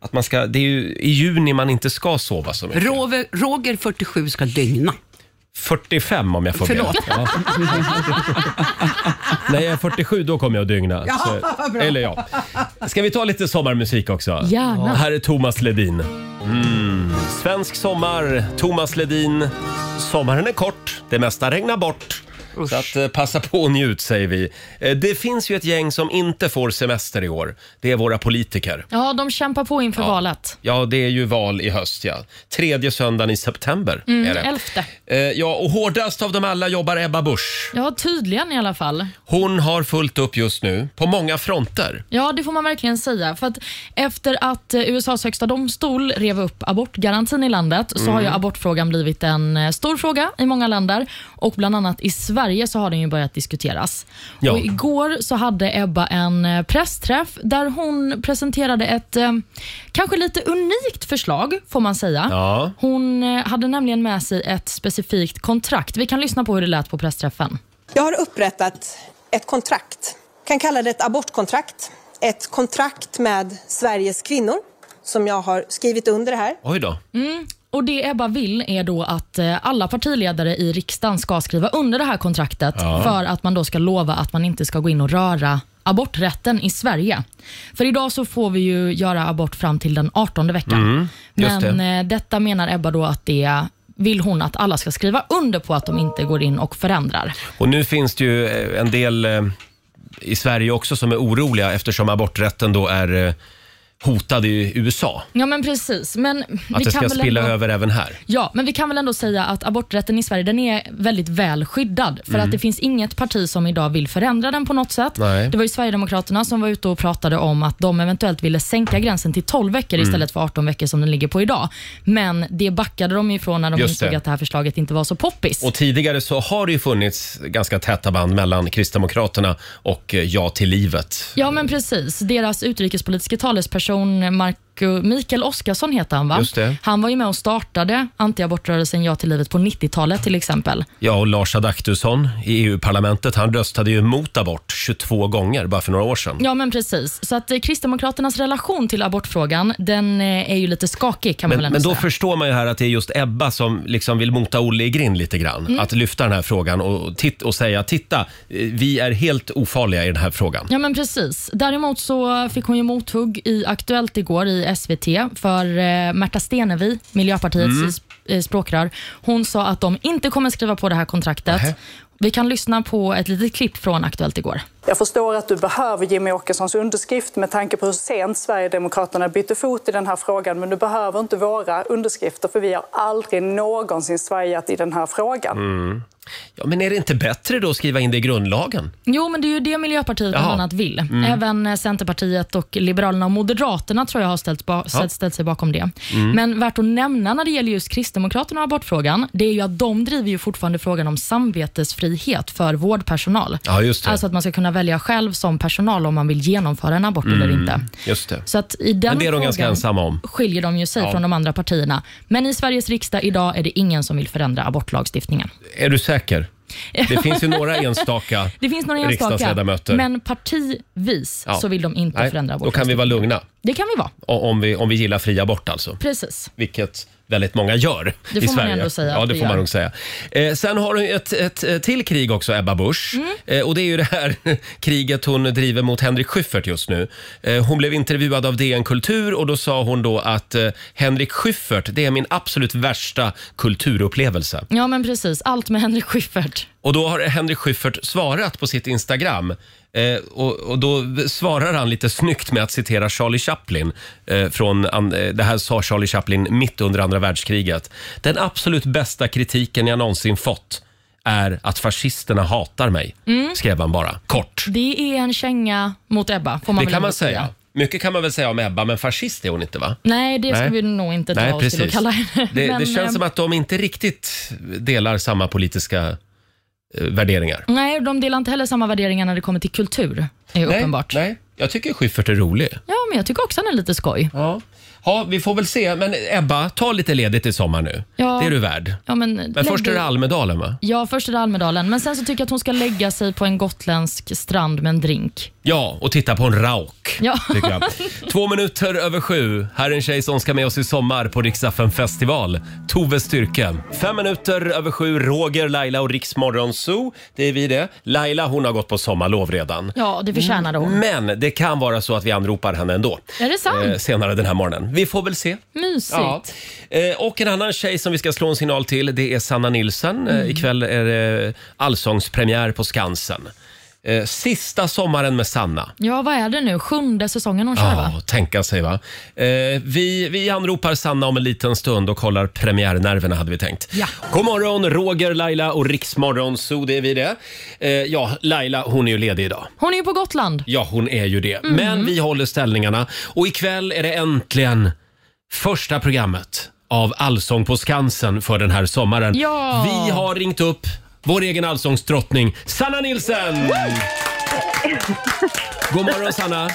Speaker 1: att man ska, det är ju i juni man inte ska sova så mycket.
Speaker 4: Roger, Roger 47 ska dygna.
Speaker 1: 45 om jag får
Speaker 4: Förlåt.
Speaker 1: be. Ja. När jag är 47 då kommer jag att dygna. Så- eller ja. Ska vi ta lite sommarmusik också?
Speaker 2: Gärna.
Speaker 1: Här är Thomas Ledin. Mm. Svensk sommar, Thomas Ledin. Sommaren är kort, det mesta regnar bort. Så att, eh, passa på och njut säger vi. Eh, Det finns ju ett gäng som inte får semester i år. Det är våra politiker.
Speaker 2: Ja, de kämpar på inför valet.
Speaker 1: Ja, det är ju val i höst ja. Tredje söndagen i september är
Speaker 2: Mm,
Speaker 1: det.
Speaker 2: elfte.
Speaker 1: Eh, ja, och hårdast av dem alla jobbar Ebba Busch.
Speaker 2: Ja, tydligen i alla fall.
Speaker 1: Hon har fullt upp just nu, på många fronter.
Speaker 2: Ja, det får man verkligen säga. För att efter att eh, USAs högsta domstol rev upp abortgarantin i landet så har ju
Speaker 1: Mm.
Speaker 2: abortfrågan blivit en eh, stor fråga i många länder. Och Bland annat i Sverige så har den ju börjat diskuteras.
Speaker 1: Ja.
Speaker 2: Och igår så hade Ebba en eh, pressträff där hon presenterade ett eh, kanske lite unikt förslag, får man säga.
Speaker 1: Ja.
Speaker 2: Hon eh, hade nämligen med sig ett specifikt kontrakt. Vi kan lyssna på hur det lät på pressträffen.
Speaker 8: Jag har upprättat ett kontrakt. kan kalla det ett abortkontrakt. Ett kontrakt med Sveriges kvinnor som jag har skrivit under här.
Speaker 1: Oj då.
Speaker 2: Mm. Och Det Ebba vill är då att eh, alla partiledare i riksdagen ska skriva under det här kontraktet för att man då ska lova att man inte ska gå in och röra aborträtten i Sverige. För idag så får vi ju göra abort fram till den 18 veckan.
Speaker 1: Mm, just
Speaker 2: Men eh, detta menar Ebba då att det vill hon att alla ska skriva under på att de inte går in och förändrar.
Speaker 1: Och nu finns det ju eh, en del eh, i Sverige också som är oroliga eftersom aborträtten då är eh, hotad i USA.
Speaker 2: Ja men precis. Men
Speaker 1: Att det ska
Speaker 2: väl
Speaker 1: spilla
Speaker 2: ändå-
Speaker 1: över även här.
Speaker 2: Ja, men vi kan väl ändå säga att aborträtten i Sverige den är väldigt väl skyddad. För att det finns inget parti som idag vill förändra den på något sätt.
Speaker 1: Mm. Nej.
Speaker 2: Det var ju Sverigedemokraterna som var ute och pratade om att de eventuellt ville sänka gränsen till 12 veckor
Speaker 1: Mm.
Speaker 2: istället för 18 veckor som den ligger på idag. Men det backade de ifrån när de
Speaker 1: Just
Speaker 2: insåg
Speaker 1: det.
Speaker 2: att det här förslaget inte var så poppis.
Speaker 1: Och tidigare så har det ju funnits ganska täta band mellan Kristdemokraterna och eh, Ja till livet.
Speaker 2: Ja men precis. Deras utrikespolitiska talesperson Marco, Mikael Oskarsson heter han va?
Speaker 1: Just det.
Speaker 2: Han var ju med och startade antiabortrörelsen Ja till livet på 90-talet till exempel.
Speaker 1: Ja, och Lars Adaktusson i EU-parlamentet, han röstade ju mot abort 22 gånger bara för några år sedan.
Speaker 2: Ja, men precis. Så att eh, Kristdemokraternas relation till abortfrågan, den eh, är ju lite skakig kan man väl
Speaker 1: Men,
Speaker 2: ändå
Speaker 1: men då
Speaker 2: säga.
Speaker 1: förstår man ju här att det är just Ebba som liksom vill mota Olle i grind lite grann.
Speaker 2: Mm.
Speaker 1: Att lyfta den här frågan och, titt, och säga titta, eh, vi är helt ofarliga i den här frågan.
Speaker 2: Ja men precis. Däremot så fick hon ju mothugg i Aktuellt igår i SVT för eh, Märta Stenevi, Miljöpartiets
Speaker 1: Mm.
Speaker 2: sp- eh, språkrör. Hon sa att de inte kommer skriva på det här kontraktet.
Speaker 1: Nähä.
Speaker 2: Vi kan lyssna på ett litet klipp från Aktuellt igår.
Speaker 9: Jag förstår att du behöver Jimmie Åkessons underskrift med tanke på hur sent Sverigedemokraterna bytte fot i den här frågan. Men du behöver inte våra underskrifter för vi har aldrig någonsin svajat i den här frågan.
Speaker 1: Mm. Ja, men är det inte bättre då att skriva in det i grundlagen?
Speaker 2: Jo, men det är ju det Miljöpartiet bland
Speaker 1: Jaha. Mm.
Speaker 2: annat vill. Även eh, Centerpartiet och Liberalerna och Moderaterna tror jag har ställt, ba- ställt, ställt sig bakom det.
Speaker 1: Mm.
Speaker 2: Men värt att nämna när det gäller just Kristdemokraterna och abortfrågan, det är ju att de driver ju fortfarande frågan om samvetesfrihet för vårdpersonal.
Speaker 1: Ja, just det.
Speaker 2: Alltså att man ska kunna välja själv som personal om man vill genomföra en abort eller inte.
Speaker 1: Just det.
Speaker 2: Så att i den
Speaker 1: Mm. Men det är de
Speaker 2: frågan
Speaker 1: ganska ensamma om.
Speaker 2: skiljer de ju sig
Speaker 1: Ja.
Speaker 2: från de andra partierna. Men i Sveriges riksdag idag är det ingen som vill förändra abortlagstiftningen.
Speaker 1: Är du säker? Det finns ju några enstaka
Speaker 2: Det finns några enstaka,
Speaker 1: riksdagsledamöter.
Speaker 2: men partivis
Speaker 1: Ja.
Speaker 2: så vill de inte
Speaker 1: Nej,
Speaker 2: förändra
Speaker 1: Då kan vi
Speaker 2: abortlagstiftningen.
Speaker 1: vara lugna
Speaker 2: Det kan vi vara.
Speaker 1: o- om vi, om vi gillar fri abort alltså.
Speaker 2: Precis.
Speaker 1: vilket väldigt många gör
Speaker 2: Det
Speaker 1: i
Speaker 2: får man
Speaker 1: Sverige.
Speaker 2: ändå säga
Speaker 1: ja,
Speaker 2: att
Speaker 1: det
Speaker 2: vi
Speaker 1: får man
Speaker 2: gör.
Speaker 1: nog säga. Eh, sen har hon ju ett, ett, eh, till krig också, Ebba Busch.
Speaker 2: Mm.
Speaker 1: Eh, och det är ju det här kriget hon driver mot Henrik Schyffert just nu. Eh, hon blev intervjuad av DN Kultur och då sa hon då att eh, Henrik Schyffert, det är min absolut värsta kulturupplevelse.
Speaker 2: Ja, men precis. Allt med Henrik Schyffert.
Speaker 1: Och då har Henrik Schyffert svarat på sitt Instagram. Eh, och, och då svarar han lite snyggt med att citera Charlie Chaplin. Eh, från, an, eh, det här sa Charlie Chaplin mitt under andra världskriget. Den absolut bästa kritiken jag någonsin fått är att fascisterna hatar mig, skrev han bara. Kort.
Speaker 2: Mm. Det är en känga mot Ebba, får man
Speaker 1: Det
Speaker 2: väl
Speaker 1: kan
Speaker 2: ändå
Speaker 1: man säga. Mycket kan man väl säga om Ebba, men fascist är hon inte va?
Speaker 2: Nej, det
Speaker 1: Nej.
Speaker 2: ska vi nog inte dra oss till att kalla henne.
Speaker 1: Det,
Speaker 2: Men,
Speaker 1: det
Speaker 2: eh,
Speaker 1: känns som att de inte riktigt delar samma politiska eh, värderingar.
Speaker 2: Nej, de delar inte heller samma värderingar när det kommer till kultur. Det är uppenbart.
Speaker 1: Nej, nej, jag tycker Schyffert är rolig.
Speaker 2: Ja, men jag tycker också han är lite skoj.
Speaker 1: Ja. ja, vi får väl se. Men Ebba, ta lite ledigt i sommar nu.
Speaker 2: Ja.
Speaker 1: Det är du värd.
Speaker 2: Ja, men
Speaker 1: Men
Speaker 2: lägg
Speaker 1: först är det
Speaker 2: dig-
Speaker 1: Almedalen va?
Speaker 2: Ja, först är det Almedalen. Men sen så tycker jag att hon ska lägga sig på en gotländsk strand med en drink.
Speaker 1: Ja, och titta på en rauk.
Speaker 2: Ja.
Speaker 1: Tycker jag. Två minuter över sju. Här är en tjej som ska med oss i sommar på Riksaffen festival. Tove Styrke. Fem minuter över sju. Roger, Laila och Riksmorgon Zoo. Det är vi det. Laila hon har gått på sommarlov redan.
Speaker 2: Ja, det förtjänade hon.
Speaker 1: Men det kan vara så att vi anropar henne ändå.
Speaker 2: Är det sant?
Speaker 1: Eh, senare den här morgonen. Vi får väl se.
Speaker 2: Mysigt.
Speaker 1: Eh, och en annan tjej som vi ska slå en signal till, det är Sanna Nilsson.
Speaker 2: Mm.
Speaker 1: Eh, ikväll är det allsångspremiär på Skansen. Eh, sista sommaren med Sanna.
Speaker 2: Ja, vad är det nu? Sjunde säsongen hon kör, va?
Speaker 1: Ja, tänka sig va. Eh, vi, vi anropar Sanna om en liten stund och kollar premiärnerverna hade vi tänkt.
Speaker 2: Ja.
Speaker 1: God morgon, Roger, Laila och Riksmorgon Zoo, det är vi det. Eh, ja, Laila hon är ju ledig idag.
Speaker 2: Hon är ju på Gotland.
Speaker 1: Ja, hon är ju det.
Speaker 3: Mhm.
Speaker 1: Men vi håller ställningarna och ikväll är det äntligen första programmet av Allsång på Skansen för den här sommaren.
Speaker 2: Ja.
Speaker 1: Vi har ringt upp vår egen allsångsdrottning Sanna Nilsson! God morgon Sanna!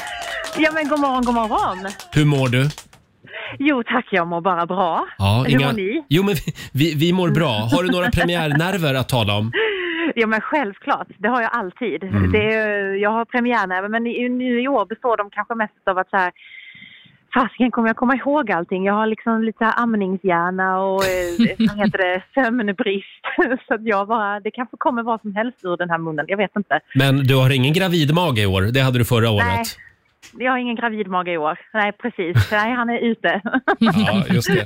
Speaker 3: Ja men god morgon, god morgon.
Speaker 1: Hur mår du?
Speaker 3: Jo tack, jag mår bara bra. Hur mår ni?
Speaker 1: Jo, men vi, vi, vi mår bra. Har du några premiärnerver att tala om?
Speaker 3: Ja men självklart, det har jag alltid. Det är, jag har premiärnerver men i- nu i år består de kanske mest av att så här Fasiken, kommer jag komma ihåg allting? Jag har liksom lite så här amningshjärna och eh, vad heter det, sömnbrist. Så att jag bara, det kanske kommer vad som helst ur den här munnen, jag vet inte.
Speaker 1: Men du har ingen gravidmage i år. Det hade du förra
Speaker 3: Nej,
Speaker 1: året.
Speaker 3: jag har ingen gravidmage i år. Nej, precis. Nej, han är ute.
Speaker 1: Ja, just det.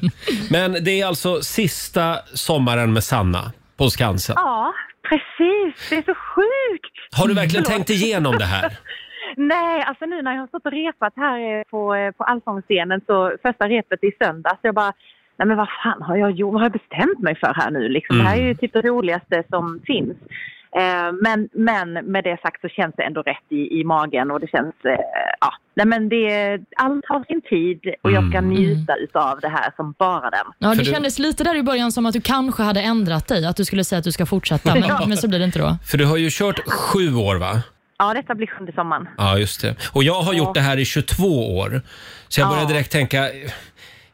Speaker 1: Men det är alltså sista sommaren med Sanna på Skansen.
Speaker 3: ja, precis. Det är så sjukt!
Speaker 1: Har du verkligen tänkt igenom det här?
Speaker 3: Nej, alltså nu när jag har stått och repat här eh, på, eh, på Allsångsscenen, så första repet i söndags, jag bara Nej men vad fan har jag gjort? Vad har jag bestämt mig för här nu liksom? Det här är ju typ det roligaste som finns. Eh, men, men med det sagt så känns det ändå rätt i, i magen och det känns, eh, ja. Nej men det, allt har sin tid och jag ska njuta utav det här som bara den.
Speaker 2: Ja, det
Speaker 1: du-
Speaker 2: kändes lite där i början som att du kanske hade ändrat dig, att du skulle säga att du ska fortsätta, men, men så blir det inte då.
Speaker 1: För du har ju kört sju år, va?
Speaker 3: Ja, detta blir sjunde sommaren.
Speaker 1: Ja, just det. Och jag har gjort det här i 22 år. Så jag började direkt tänka,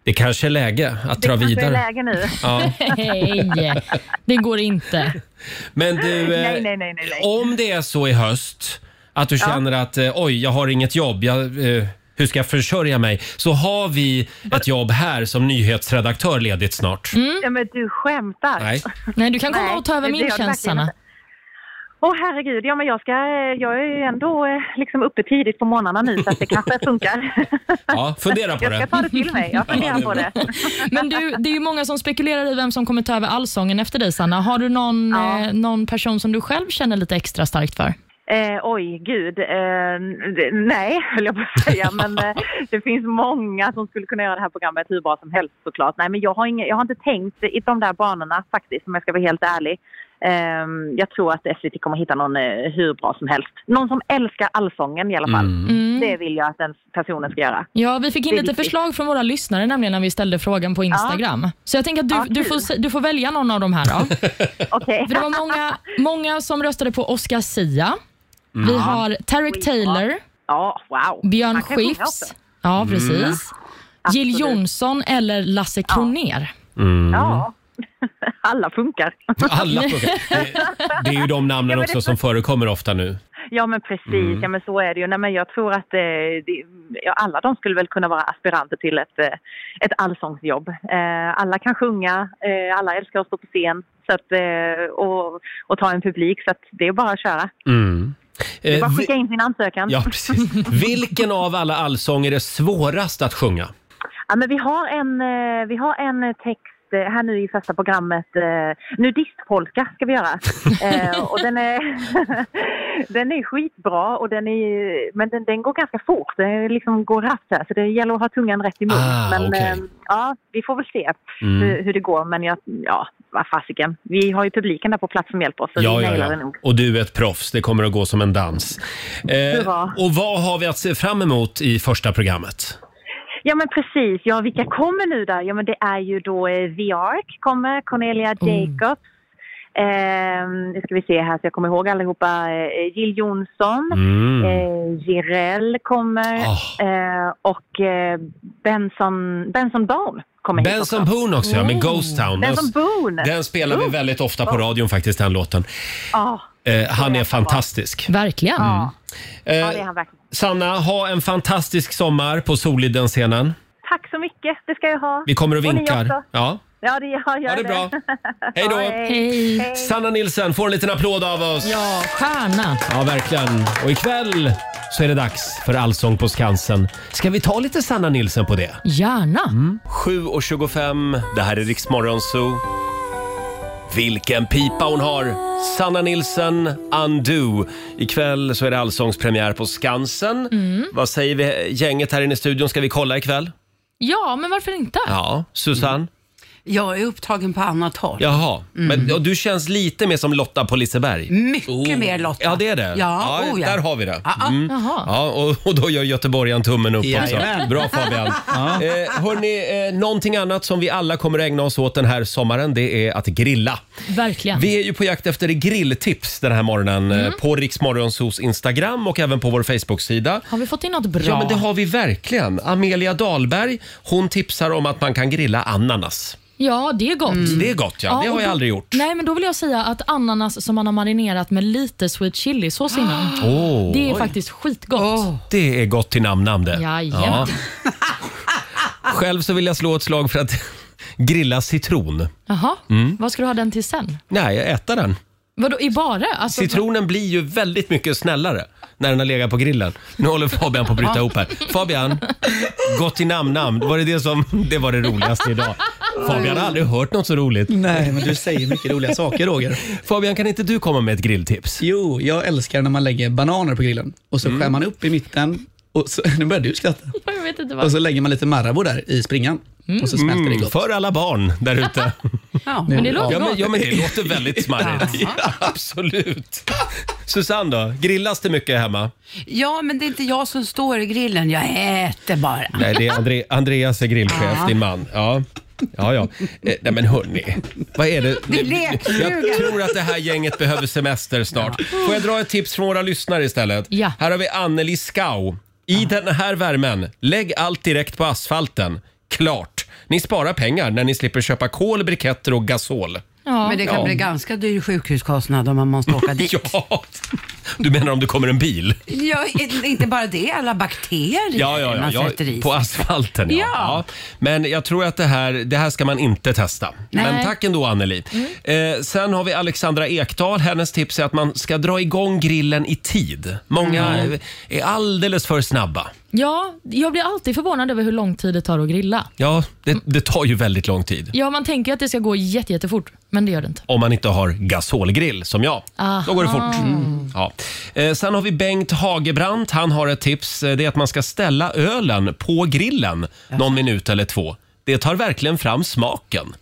Speaker 1: det kanske är läge att dra
Speaker 3: det kanske är
Speaker 1: vidare.
Speaker 3: läge nu.
Speaker 1: Ja.
Speaker 2: Nej, det går inte.
Speaker 1: Men du, eh,
Speaker 2: Mm.
Speaker 3: Nej, nej, nej, nej, nej.
Speaker 1: om det är så i höst att du känner att eh, oj, jag har inget jobb, jag, eh, hur ska jag försörja mig? Så har vi ett jobb här som nyhetsredaktör ledigt snart.
Speaker 3: Ja, men du skämtar.
Speaker 1: Nej.
Speaker 2: Nej, du kan komma
Speaker 3: Nej,
Speaker 2: och ta över
Speaker 3: det- det
Speaker 2: min
Speaker 3: har jag
Speaker 2: tjänst,
Speaker 3: verkligen
Speaker 2: Sanna.
Speaker 3: inte. Åh herregud, ja men jag ska, eh, jag är ju ändå eh, liksom uppe tidigt på morgnarna nu så att det kanske funkar.
Speaker 1: Ja, fundera på
Speaker 3: jag ska
Speaker 1: det.
Speaker 3: ta det till mig, jag funderar på det.
Speaker 2: Men du, det är ju många som spekulerar i vem som kommer ta över allsången efter dig, Sanna. Har du någon,
Speaker 3: Ja.
Speaker 2: eh, någon person som du själv känner lite extra starkt för?
Speaker 3: Eh, oj, gud. Eh, n- nej, höll jag på att säga. Men eh, det finns många som skulle kunna göra det här programmet hur bra som helst såklart. Nej, men jag har, ingen, jag har inte tänkt i de där banorna faktiskt, om jag ska vara helt ärlig. Eh, jag tror att SVT kommer hitta någon eh, hur bra som helst. Någon som älskar allsången i alla fall.
Speaker 2: Mm.
Speaker 1: Mm.
Speaker 3: Det vill jag att den personen ska göra.
Speaker 2: Ja, vi fick in
Speaker 3: Det är
Speaker 2: lite
Speaker 3: viktigt.
Speaker 2: förslag från våra lyssnare nämligen när vi ställde frågan på Instagram. Så jag tänker att du,
Speaker 3: Ja,
Speaker 2: du,
Speaker 3: kul.
Speaker 2: får, se- du får välja någon av de här då.
Speaker 3: Okej.
Speaker 2: För det var många, många som röstade på Oscar Sia. Vi
Speaker 1: Mm.
Speaker 2: har Tarek Taylor,
Speaker 3: Ja, wow.
Speaker 2: Björn
Speaker 3: Man kan sjunga också.
Speaker 2: Skifs. Ja,
Speaker 1: Mm.
Speaker 2: precis. Jill
Speaker 3: Absolut.
Speaker 2: Johnson eller Lasse Kronér. Mm.
Speaker 3: Ja. Alla funkar.
Speaker 1: Alla frågor. Det, det är ju de namnen
Speaker 3: men det-
Speaker 1: också som förekommer ofta nu.
Speaker 3: Ja, men precis.
Speaker 1: Mm.
Speaker 3: Ja, men så är det ju. Nej, men jag tror att eh, det, ja, alla de skulle väl kunna vara aspiranter till ett, eh, ett allsångsjobb. Eh, alla kan sjunga, eh, alla älskar att stå på scen så att, eh, och, och ta en publik. Så att det är bara att köra.
Speaker 1: Mm.
Speaker 3: Det är
Speaker 1: Eh,
Speaker 3: bara att
Speaker 1: vi,
Speaker 3: skicka in sin ansökan.
Speaker 1: ja, precis. Vilken av alla allsånger är svårast att sjunga?
Speaker 3: Ja, men vi har en, eh, vi har en text eh, här nu i första programmet. eh, Nudistpolka ska vi göra. Eh, och den, är, den är skitbra, och den är, men den, den går ganska fort. Den liksom går raskt här, så det gäller att ha tungan rätt i mun.
Speaker 1: Ah,
Speaker 3: men
Speaker 1: okej. Mm.
Speaker 3: eh, ja, vi får väl se hur, hur det går. Men jag, ja, vad fasiken. Vi har ju publiken där på plats som hjälper oss, så vi nailar det nog.
Speaker 1: Och du är ett proffs, det kommer att gå som en dans. Eh,
Speaker 3: Hurra.
Speaker 1: och vad har vi att se fram emot i första programmet?
Speaker 3: Ja men precis, ja vilka kommer nu då? Ja men det är ju då eh, The Ark kommer, Cornelia
Speaker 1: Mm.
Speaker 3: Jacobs. Ehm, nu ska vi se här så jag kommer ihåg allihopa. Eh, Jill Johnson,
Speaker 1: Mm.
Speaker 3: eh, Jireel kommer
Speaker 1: Ah.
Speaker 3: eh, och eh, Benson, Benson Boone kommer hit
Speaker 1: Benson
Speaker 3: också.
Speaker 1: Boone alltså. också, ja, med Ghost Town. Den,
Speaker 3: Benson Mm. Boone! Mm.
Speaker 1: den spelar vi väldigt ofta på radion faktiskt, den låten.
Speaker 3: Ja,
Speaker 1: Eh, han är fantastisk.
Speaker 2: Verkligen.
Speaker 1: Mm.
Speaker 3: Ah.
Speaker 1: Eh,
Speaker 7: han verkligen.
Speaker 1: Sanna, ha en fantastisk sommar på Soliden-scenen.
Speaker 7: Tack så mycket, det ska jag ha.
Speaker 1: Vi kommer och
Speaker 7: ni
Speaker 1: vinkar.
Speaker 7: också.
Speaker 1: Ja,
Speaker 7: Ja, det gör jag.
Speaker 1: ha det bra. Hej
Speaker 7: Ja,
Speaker 1: då!
Speaker 2: Hej.
Speaker 1: Sanna Nilsson får en liten applåd av oss.
Speaker 2: Ja, stjärna.
Speaker 1: Ja, verkligen. Och ikväll så är det dags för Allsång på Skansen. Ska vi ta lite Sanna Nilsson på det?
Speaker 2: Gärna.
Speaker 1: Mm. 7.25, det här är Riksmorgon Zoo. Vilken pipa hon har! Sanna Nilsson, Undo. Ikväll så är det allsångspremiär på Skansen. Vad säger vi, gänget här inne i studion? Ska vi kolla ikväll?
Speaker 2: Ja, men varför inte?
Speaker 1: Ja, Susanne?
Speaker 4: Jag är upptagen på annat håll.
Speaker 1: Jaha, Mm. men och du känns lite mer som Lotta på Liseberg.
Speaker 4: Mycket mer Lotta.
Speaker 1: Oh. Ja, det är det.
Speaker 4: Ja, oh, ja.
Speaker 1: Där har vi det. Mm.
Speaker 4: Ja, ja.
Speaker 2: Jaha.
Speaker 1: Ja, och, och då gör göteborgaren tummen upp också.
Speaker 6: Jajamän.
Speaker 1: Bra Fabian. Eh, hörni, eh, någonting annat som vi alla kommer att ägna oss åt den här sommaren, det är att grilla.
Speaker 2: Verkligen.
Speaker 1: Vi är ju på jakt efter grilltips den här morgonen eh, på Riksmorgonsos Instagram och även på vår Facebook-sida.
Speaker 2: Har vi fått in något bra?
Speaker 1: Ja, men det har vi verkligen. Amelia Dahlberg, hon tipsar om att man kan grilla ananas.
Speaker 2: Ja, det är gott.
Speaker 1: Det är gott Mm. ja, det
Speaker 2: och
Speaker 1: har jag
Speaker 2: då-
Speaker 1: aldrig gjort.
Speaker 2: Nej, men då vill jag säga att ananas som man har marinerat med lite sweet chili-sås innan,
Speaker 1: Åh.
Speaker 2: det är faktiskt skitgott.
Speaker 1: Det är gott till namn det.
Speaker 2: Jajamän.
Speaker 1: Själv så vill jag slå ett slag för att grilla citron.
Speaker 2: Jaha,
Speaker 1: Mm.
Speaker 2: vad ska du ha den till sen?
Speaker 1: Nej, äta den.
Speaker 2: Vadå, i bara? Alltså,
Speaker 1: Citronen blir ju väldigt mycket snällare när den har legat på grillen. Nu håller Fabian på att bryta ihop här. Fabian, gott till namn Var det det som, det var det roligaste idag? Fabian har aldrig hört något så roligt.
Speaker 6: Nej, men du säger mycket roliga saker Roger.
Speaker 1: Fabian, kan inte du komma med ett grilltips?
Speaker 6: Jo, jag älskar när man lägger bananer på grillen och så
Speaker 1: Mm.
Speaker 6: skär man upp i mitten och så, nu börjar du skratta.
Speaker 2: Jag vet inte
Speaker 6: Och
Speaker 2: vad.
Speaker 6: så lägger man lite Marabou där i springan och så smälter det
Speaker 1: Mm,
Speaker 6: gott.
Speaker 1: för alla barn där ute.
Speaker 4: Ja.
Speaker 2: Men det låter
Speaker 1: Ja men,
Speaker 2: gott.
Speaker 1: ja, men det låter väldigt smarrigt. Absolut. Susanne då, grillas det mycket hemma?
Speaker 4: ja, men det är inte jag som står i grillen. Jag äter bara.
Speaker 1: Nej, det är Andre, Andreas är grillchef, din man. Ja. Ja, ja. Eh, nej men hörni, vad är det?
Speaker 4: Det är lekstuga.
Speaker 1: Jag tror att det här gänget behöver semester snart. Får jag dra ett tips från våra lyssnare istället?
Speaker 2: Ja.
Speaker 1: Här har vi Anneli Skau. I den här värmen, lägg allt direkt på asfalten. Klart! Ni sparar pengar när ni slipper köpa kol, briketter och gasol.
Speaker 4: Men det kan bli ganska dyr sjukhuskostnad om man måste åka dit.
Speaker 1: Ja! Du menar om det kommer en bil?
Speaker 4: Ja, i- inte bara det, alla bakterier
Speaker 1: Ja, ja, ja,
Speaker 4: man
Speaker 1: ja
Speaker 4: sätter i
Speaker 1: på
Speaker 4: sig.
Speaker 1: asfalten. Ja.
Speaker 4: Ja.
Speaker 1: Men jag tror att det här, det här ska man inte testa. Men tack ändå Anneli.
Speaker 4: Mm.
Speaker 1: Eh, sen har vi Alexandra Ekdahl. Hennes tips är att man ska dra igång grillen i tid. Många eh, är alldeles för snabba.
Speaker 2: Ja, jag blir alltid förvånad över hur lång tid det tar att grilla.
Speaker 1: Ja, det, det tar ju väldigt lång tid.
Speaker 2: Ja, man tänker att det ska gå jätte, jättefort, men det gör det inte.
Speaker 1: Om man inte har gasolgrill som jag. Då går det fort.
Speaker 4: Mm.
Speaker 1: Ja. Eh, sen har vi Bengt Hagebrant. Han har ett tips. Eh, Det är att man ska ställa ölen på grillen någon minut eller två. Det tar verkligen fram smaken.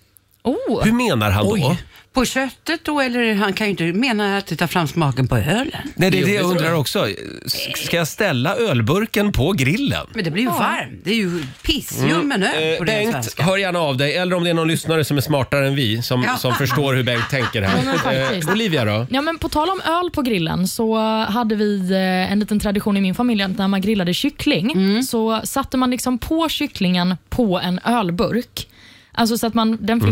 Speaker 2: Oh,
Speaker 1: Hur menar han då?
Speaker 4: På köttet då, eller han kan ju inte mena att det tar fram smaken på ölen.
Speaker 1: Nej, det är det jag undrar också. S- Ska jag ställa ölburken på grillen?
Speaker 4: Men det blir ju varmt. Det är ju pissljummen öl på den
Speaker 1: Mm. Eh, Bengt,
Speaker 4: svenska.
Speaker 1: hör gärna av dig. Eller om det är någon lyssnare som är smartare än vi, som,
Speaker 4: Ja.
Speaker 1: som förstår hur Bengt tänker
Speaker 2: Ja, men
Speaker 1: här.
Speaker 2: faktiskt.
Speaker 1: Eh, Olivia då?
Speaker 2: Ja, men på tal om öl på grillen så hade vi eh, en liten tradition i min familj att när man grillade kyckling
Speaker 1: Mm.
Speaker 2: så satte man liksom på kycklingen på en ölburk. Alltså så att man, den fick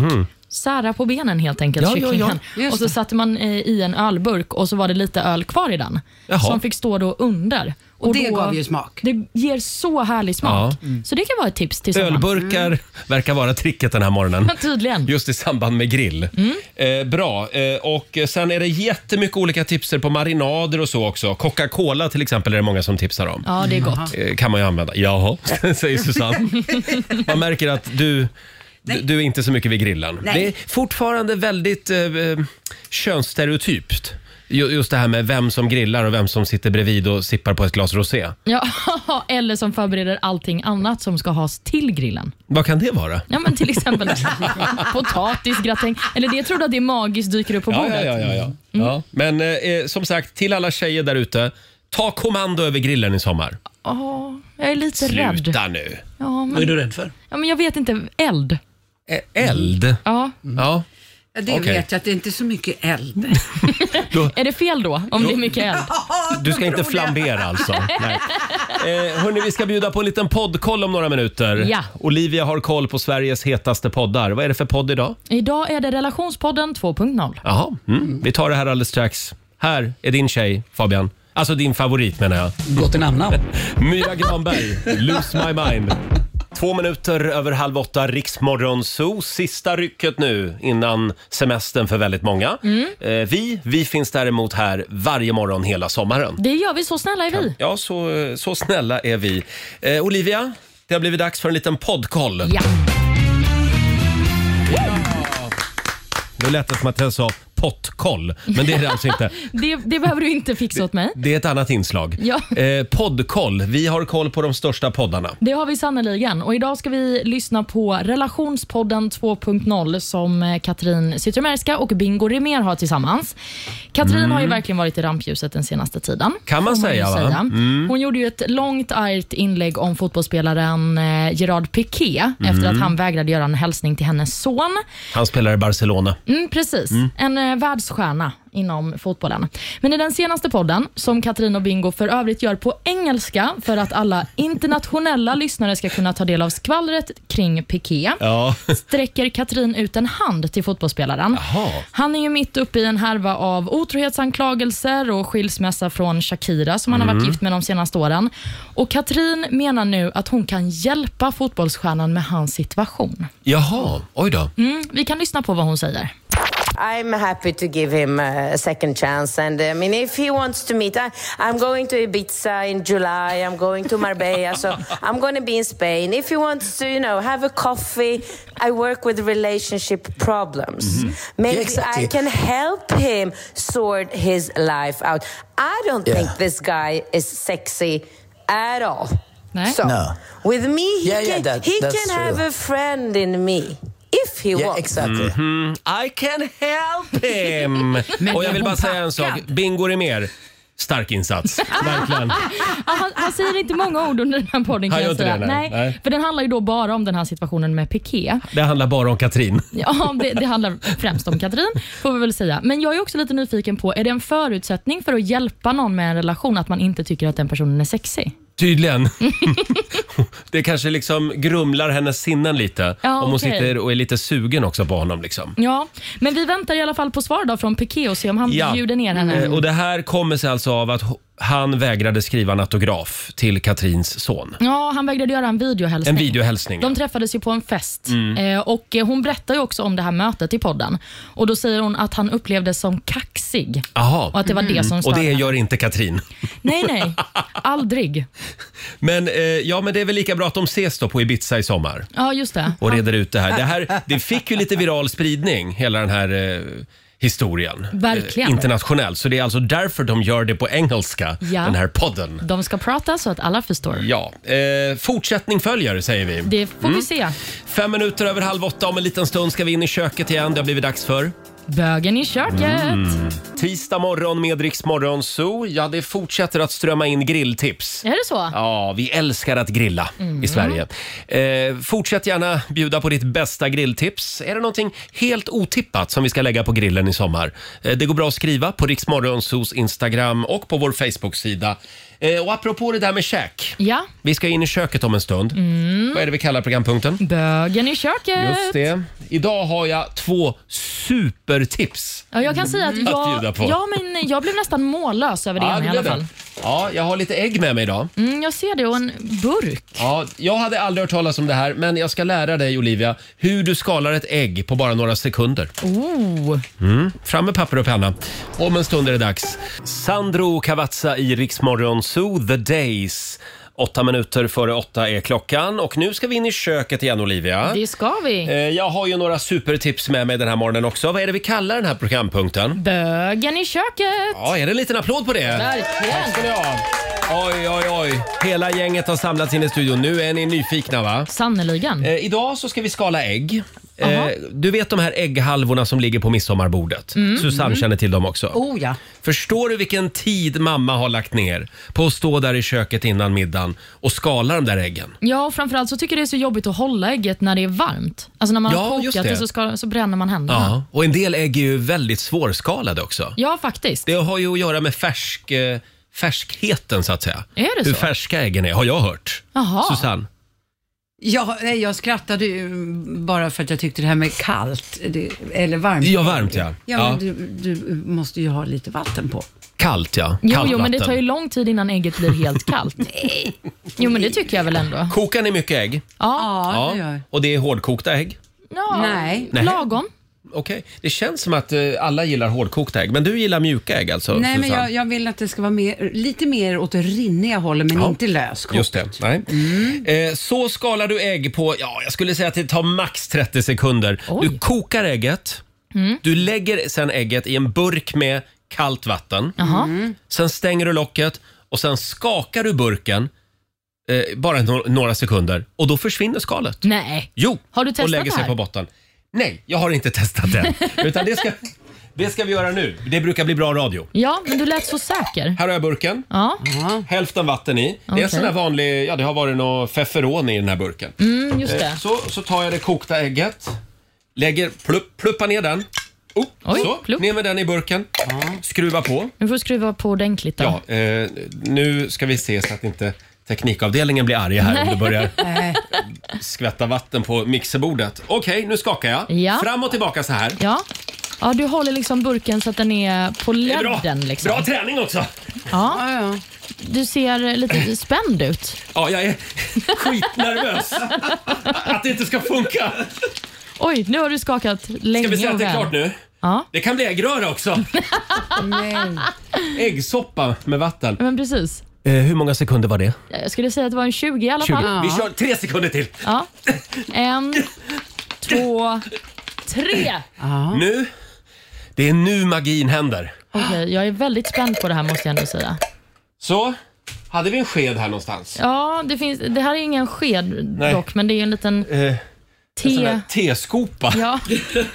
Speaker 2: sära på benen helt enkelt,
Speaker 1: Mhm. Ja, ja, ja.
Speaker 2: kycklingen.
Speaker 4: Just
Speaker 2: Och så
Speaker 4: det.
Speaker 2: satte man eh, i en ölburk och så var det lite öl kvar i den
Speaker 1: Jaha.
Speaker 2: som fick stå då under. Och,
Speaker 4: det
Speaker 2: då,
Speaker 4: gav ju smak. Mm.
Speaker 2: Det ger så härlig smak. Så det kan vara ett tips till sommaren.
Speaker 1: Ölburkar verkar vara tricket den här morgonen.
Speaker 2: Men Tydligen.
Speaker 1: Just i samband med grill. Eh, bra. Eh, och sen är det jättemycket olika tipser på marinader och så också. Coca-Cola till exempel är det många som tipsar om.
Speaker 2: Ja, det är gott.
Speaker 1: Eh, kan man ju använda. Jaha, säger Susanne. Man märker att du, du, du är inte så mycket vid grillen.
Speaker 4: Nej.
Speaker 1: Det är fortfarande väldigt eh, eh, könsstereotypt. Ju- Just det här med vem som grillar och vem som sitter bredvid och sippar på ett glas rosé.
Speaker 2: Ja, eller som förbereder allting annat som ska has till grillen.
Speaker 1: Vad kan det vara?
Speaker 2: Ja, men till exempel potatisgratäng. Eller det tror du att det magiskt dyker upp på
Speaker 1: Ja,
Speaker 2: bordet?
Speaker 1: ja, ja, ja, ja. ja. Men eh, eh, som sagt, till alla tjejer där ute. Ta kommando över grillen i sommar.
Speaker 2: Åh, jag är lite rädd.
Speaker 1: Sluta nu.
Speaker 2: Ja
Speaker 6: Vad är
Speaker 2: men,
Speaker 6: du rädd för?
Speaker 2: ja, men jag vet inte. Eld.
Speaker 1: Eh, Eld?
Speaker 2: Ja.
Speaker 1: Ja.
Speaker 4: Ja, det
Speaker 1: Okej.
Speaker 4: vet jag att det är inte är så mycket eld.
Speaker 2: Är det fel då, om det är mycket eld?
Speaker 1: Du ska inte flambera alltså? Nej. Eh, hörni, vi ska bjuda på en liten poddkoll om några minuter.
Speaker 2: Ja.
Speaker 1: Olivia har koll på Sveriges hetaste poddar. Vad är det för podd idag?
Speaker 2: Idag är det Relationspodden 2.0.
Speaker 1: Jaha, mm. vi tar det här alldeles strax. här är din tjej Fabian. Alltså din favorit menar jag.
Speaker 6: Gå till namn.
Speaker 1: Myra Granberg, Lose My Mind. Två minuter över halv åtta, Riksmorgon Zoo. Sista rycket nu innan semestern för väldigt många. Eh, vi, vi finns däremot här varje morgon hela sommaren.
Speaker 2: Det gör vi, så snälla är vi.
Speaker 1: Ja, så, så snälla är vi. Eh, Olivia, det har blivit dags för en liten poddkoll.
Speaker 2: Ja.
Speaker 1: Det lät som att jag sa pottkoll, men det är det alltså inte.
Speaker 2: Det, det behöver du inte fixa åt mig.
Speaker 1: Det är ett annat inslag.
Speaker 2: Ja.
Speaker 1: Eh, poddkoll. Vi har koll på de största poddarna.
Speaker 2: Det har vi sannoliken. Och idag ska vi lyssna på Relationspodden 2.0 som eh, Katrin Zytomierska och Bingo Rimér har tillsammans. Katrin har ju verkligen varit i rampljuset den senaste tiden.
Speaker 1: Mm. Kan man
Speaker 2: får ju
Speaker 1: säga, va? Mm.
Speaker 2: Hon gjorde ju ett långt argt inlägg om fotbollsspelaren eh, Gerard Piqué
Speaker 1: Mm.
Speaker 2: efter att han vägrade göra en hälsning till hennes son.
Speaker 1: Han spelar i Barcelona.
Speaker 2: Mm, precis. En eh, världsstjärna inom fotbollen. Men i den senaste podden, som Katrin och Bingo för övrigt gör på engelska för att alla internationella lyssnare ska kunna ta del av skvallret kring Piqué,
Speaker 1: Ja.
Speaker 2: sträcker Katrin ut en hand till fotbollsspelaren.
Speaker 1: Jaha.
Speaker 2: Han är ju mitt uppe i en härva av otrohetsanklagelser och skilsmässa från Shakira som han har
Speaker 1: Mm.
Speaker 2: varit gift med de senaste åren. Och Katrin menar nu att hon kan hjälpa fotbollsstjärnan med hans situation.
Speaker 1: Jaha, oj då.
Speaker 2: Mm, vi kan lyssna på vad hon säger.
Speaker 10: I'm happy to give him uh, a second chance. And I mean, if he wants to meet, I, I'm going to Ibiza in July. I'm going to Marbella. so I'm going to be in Spain. If he wants to, you know, have a coffee, I work with relationship problems. Maybe I can help him sort his life out. I don't think this guy is sexy at all.
Speaker 2: Nej.
Speaker 10: So with me, he
Speaker 9: Yeah, yeah,
Speaker 10: can,
Speaker 9: that-
Speaker 10: he
Speaker 9: that's
Speaker 10: can
Speaker 9: true.
Speaker 10: have a friend in me if he wants.
Speaker 9: exactly.
Speaker 4: Mhm.
Speaker 1: I can help him! Och jag vill bara säga en sak. Bingo är mer. Stark insats. Verkligen.
Speaker 2: Ja, han, han säger inte många ord under den här podden.
Speaker 1: Han
Speaker 2: Kan
Speaker 1: gör
Speaker 2: jag
Speaker 1: inte
Speaker 2: säga.
Speaker 1: det, nej.
Speaker 2: nej.
Speaker 1: Nej.
Speaker 2: För den handlar ju då bara om den här situationen med Piqué.
Speaker 1: Det handlar bara om Katrin.
Speaker 2: Ja, det, det handlar främst om Katrin, får vi väl säga. Men jag är också lite nyfiken på, är det en förutsättning för att hjälpa någon med en relation att man inte tycker att den personen är sexig?
Speaker 1: Tydligen. Det kanske liksom grumlar hennes sinnen lite.
Speaker 2: Ja,
Speaker 1: om hon
Speaker 2: okej. Mm,
Speaker 1: sitter och är lite sugen också på honom. Liksom.
Speaker 2: Ja, men vi väntar i alla fall på svar då från Piqué och se om han
Speaker 1: Ja.
Speaker 2: bjuder ner henne.
Speaker 1: Eh, Och det här kommer sig alltså av att ho- han vägrade skriva en autograf till Katrins son.
Speaker 2: Ja, han vägrade göra en videohälsning.
Speaker 1: En Mm. videohälsning.
Speaker 2: De träffades ju på en fest eh, och eh, hon berättar ju också om det här mötet i podden. Och Då säger hon att han upplevdes som kaxig
Speaker 1: Jaha.
Speaker 2: och att det var det som
Speaker 1: Mm. Och
Speaker 2: störde
Speaker 1: det
Speaker 2: henne.
Speaker 1: gör inte Katrin.
Speaker 2: Nej, nej. Aldrig.
Speaker 1: Men, eh, ja, men det är väl lika bra att de ses då på Ibiza i sommar
Speaker 2: Ja, just det.
Speaker 1: och reder ut det här. Det, här, det fick ju lite viral spridning, hela den här eh, historien.
Speaker 2: Verkligen.
Speaker 1: Eh, internationellt. Så det är alltså därför de gör det på engelska,
Speaker 2: Ja.
Speaker 1: den här podden.
Speaker 2: De ska prata så att alla förstår.
Speaker 1: Ja, Mm. eh, fortsättning följer säger vi.
Speaker 2: Det får vi se.
Speaker 1: Fem minuter över halv åtta, om en liten stund ska vi in i köket igen. Det har blivit dags för
Speaker 2: Bögen i köket.
Speaker 1: Mm. tisdag morgon med Rix Morgon Zoo. Ja, det fortsätter att strömma in grilltips.
Speaker 2: Är det så?
Speaker 1: Ja, vi älskar att grilla
Speaker 2: Mm.
Speaker 1: i Sverige. Eh, fortsätt gärna bjuda på ditt bästa grilltips. Är det någonting helt otippat som vi ska lägga på grillen i sommar? Eh, det går bra att skriva på Riksmorgonsos Instagram och på vår Facebook-sida. Eh, och apropå det där med käk.
Speaker 2: Ja.
Speaker 1: Vi ska in i köket om en stund.
Speaker 2: Mm.
Speaker 1: Vad är det vi kallar programpunkten?
Speaker 2: Bögen i köket.
Speaker 1: Just det. Idag har jag två supertips.
Speaker 2: Ja, jag kan säga att
Speaker 1: Mm. Att
Speaker 2: jag,
Speaker 1: bjuda på.
Speaker 2: ja, men jag blev nästan mållös över det ena i alla
Speaker 1: det är
Speaker 2: fall.
Speaker 1: det. ja, jag har lite ägg med mig idag.
Speaker 2: Mm, jag ser det och en burk.
Speaker 1: Ja, jag hade aldrig hört talas om det här, men jag ska lära dig Olivia hur du skalar ett ägg på bara några sekunder.
Speaker 2: Oh.
Speaker 1: Fram med papper och penna. Om en stund är det dags. Sandro Cavazza i Rix Morgon Zoo, The Days. Åtta minuter före åtta är klockan och nu ska vi in i köket igen Olivia.
Speaker 2: Det ska
Speaker 1: Eh,
Speaker 2: vi.
Speaker 1: Jag har ju några supertips med mig den här morgonen också. Vad är det vi kallar den här programpunkten?
Speaker 2: Bögen i köket.
Speaker 1: Ja, är det en liten applåd på det?
Speaker 2: Verkligen.
Speaker 1: ska ni ha. Oj, oj, oj. Hela gänget har samlats in i studion. Nu är ni nyfikna va?
Speaker 2: Sannerligen.
Speaker 1: Eh, idag så ska vi skala ägg. Eh,
Speaker 2: Jaha.
Speaker 1: du vet de här ägghalvorna som ligger på midsommarbordet?
Speaker 2: Mm.
Speaker 1: Susanne känner till dem också.
Speaker 4: Oh ja.
Speaker 1: Förstår du vilken tid mamma har lagt ner på att stå där i köket innan middagen och skala de där äggen?
Speaker 2: Ja, och framförallt så tycker jag det är så jobbigt att hålla ägget när det är varmt. Alltså när man
Speaker 1: Ja,
Speaker 2: har kokat
Speaker 1: just
Speaker 2: det,
Speaker 1: det.
Speaker 2: så, ska, så bränner man händerna.
Speaker 1: Ja.
Speaker 2: Ja,
Speaker 1: Och en del ägg är ju väldigt svårskalade också.
Speaker 2: faktiskt.
Speaker 1: Det har ju att göra med färsk, eh, färskheten så att säga.
Speaker 2: Är det
Speaker 1: Hur
Speaker 2: så?
Speaker 1: färska äggen är, har jag hört.
Speaker 2: Jaha.
Speaker 1: Susanne?
Speaker 4: Ja, nej, jag skrattade ju bara för att jag tyckte det här med kallt, det, eller varmt.
Speaker 1: Ja, varmt, ja.
Speaker 4: Ja,
Speaker 1: Ja.
Speaker 4: men du, du måste ju ha lite vatten på.
Speaker 1: Kallt ja.
Speaker 2: Jo,
Speaker 1: Kallt
Speaker 2: jo, men det
Speaker 1: vatten.
Speaker 2: tar ju lång tid innan ägget blir helt kallt. Jo, men det tycker jag väl ändå. Ja,
Speaker 1: Kokar ni mycket ägg?
Speaker 2: ja.
Speaker 1: Och det är hårdkokta ägg?
Speaker 2: Nej.
Speaker 1: Nej.
Speaker 2: lagom.
Speaker 1: Okej. Det känns som att eh, alla gillar hårdkokta ägg, men du gillar mjuka ägg alltså?
Speaker 4: nej, men
Speaker 1: Susanne?
Speaker 4: jag, jag vill att det ska vara mer, lite mer åt det rinniga hållet, men
Speaker 1: Ja.
Speaker 4: inte löskokt.
Speaker 1: Just det. Nej.
Speaker 2: Mm.
Speaker 1: Eh, så skalar du ägg på, ja, jag skulle säga att det tar max 30 sekunder. Du kokar ägget.
Speaker 2: Mm.
Speaker 1: Du lägger sen ägget i en burk med kallt vatten.
Speaker 2: Jaha.
Speaker 1: Sen stänger du locket och sen skakar du burken eh, bara no- några sekunder och då försvinner skalet.
Speaker 2: Nej.
Speaker 1: Jo,
Speaker 2: Har du testat
Speaker 1: och lägger sig
Speaker 2: det här?
Speaker 1: på botten. Nej, jag har inte testat det. Utan det ska, det ska vi göra nu. Det brukar bli bra radio.
Speaker 2: Ja, men du lät så säker.
Speaker 1: Här har jag burken.
Speaker 2: Ja.
Speaker 1: Hälften vatten i. Det är en
Speaker 2: Okej.
Speaker 1: sån här vanlig, ja det har varit någon feferon i den här burken.
Speaker 2: Mm, just
Speaker 1: Eh,
Speaker 2: det.
Speaker 1: Så, så tar jag det kokta ägget, lägger, plupp, pluppar ner den. Oh,
Speaker 2: Oj,
Speaker 1: så, ner med den i burken. Skruva på.
Speaker 2: Nu får du skruva på ordentligt då.
Speaker 1: Ja, eh, nu ska vi se så att inte teknikavdelningen blir arg här om
Speaker 2: Nej.
Speaker 1: det börjar skvätta vatten på mixerbordet. Okej, nu skakar jag.
Speaker 2: Ja.
Speaker 1: Fram och tillbaka så här.
Speaker 2: Ja. ja, du håller liksom burken så att den är på
Speaker 1: Det är bra.
Speaker 2: ledden. Liksom.
Speaker 1: bra träning också!
Speaker 2: Ja. Du ser lite spänd ut.
Speaker 1: Ja, jag är skitnervös att det inte ska funka.
Speaker 2: Oj, nu har du skakat länge
Speaker 1: Ska vi säga
Speaker 2: och
Speaker 1: att det är
Speaker 2: väl.
Speaker 1: klart nu?
Speaker 2: Ja.
Speaker 1: Det kan bli äggröra också. Äggsoppa med vatten.
Speaker 2: Men precis.
Speaker 1: Eh, hur många sekunder var det?
Speaker 2: Jag skulle säga att det var en 20 i alla
Speaker 1: 20.
Speaker 2: fall.
Speaker 1: Vi kör tre sekunder till.
Speaker 2: Ja. En, två, tre.
Speaker 1: Nu. Det är nu magin händer.
Speaker 2: Okej, jag är väldigt spänd på det här måste jag ändå säga.
Speaker 1: Så, hade vi en sked här någonstans?
Speaker 2: Ja, det, finns, det här är ingen sked
Speaker 1: Nej.
Speaker 2: dock, men det är en liten
Speaker 1: Eh, en sån
Speaker 2: te...
Speaker 1: där teskopa.
Speaker 2: Ja.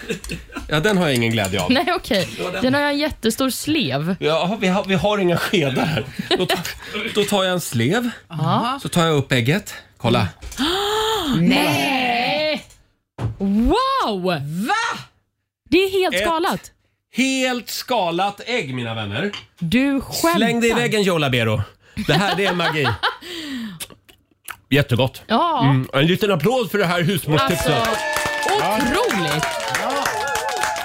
Speaker 1: ja, den har jag ingen glädje av.
Speaker 2: Nej, okej. Den har jag en jättestor slev.
Speaker 1: Ja, vi, har, vi har inga skedar här. Då, tar- då tar jag en slev,
Speaker 2: Ja.
Speaker 1: så tar jag upp ägget. Kolla.
Speaker 2: Nej! Wow! Va? Det är helt
Speaker 1: Ett.
Speaker 2: skalat.
Speaker 1: Helt skalat ägg, mina vänner.
Speaker 2: Du skämtar.
Speaker 1: Släng det i väggen, Joe Labero. Det här det är magi. Jättegott.
Speaker 2: Ja.
Speaker 1: Mm, en liten applåd för det här
Speaker 2: Alltså,
Speaker 1: husmorstipset.
Speaker 2: otroligt!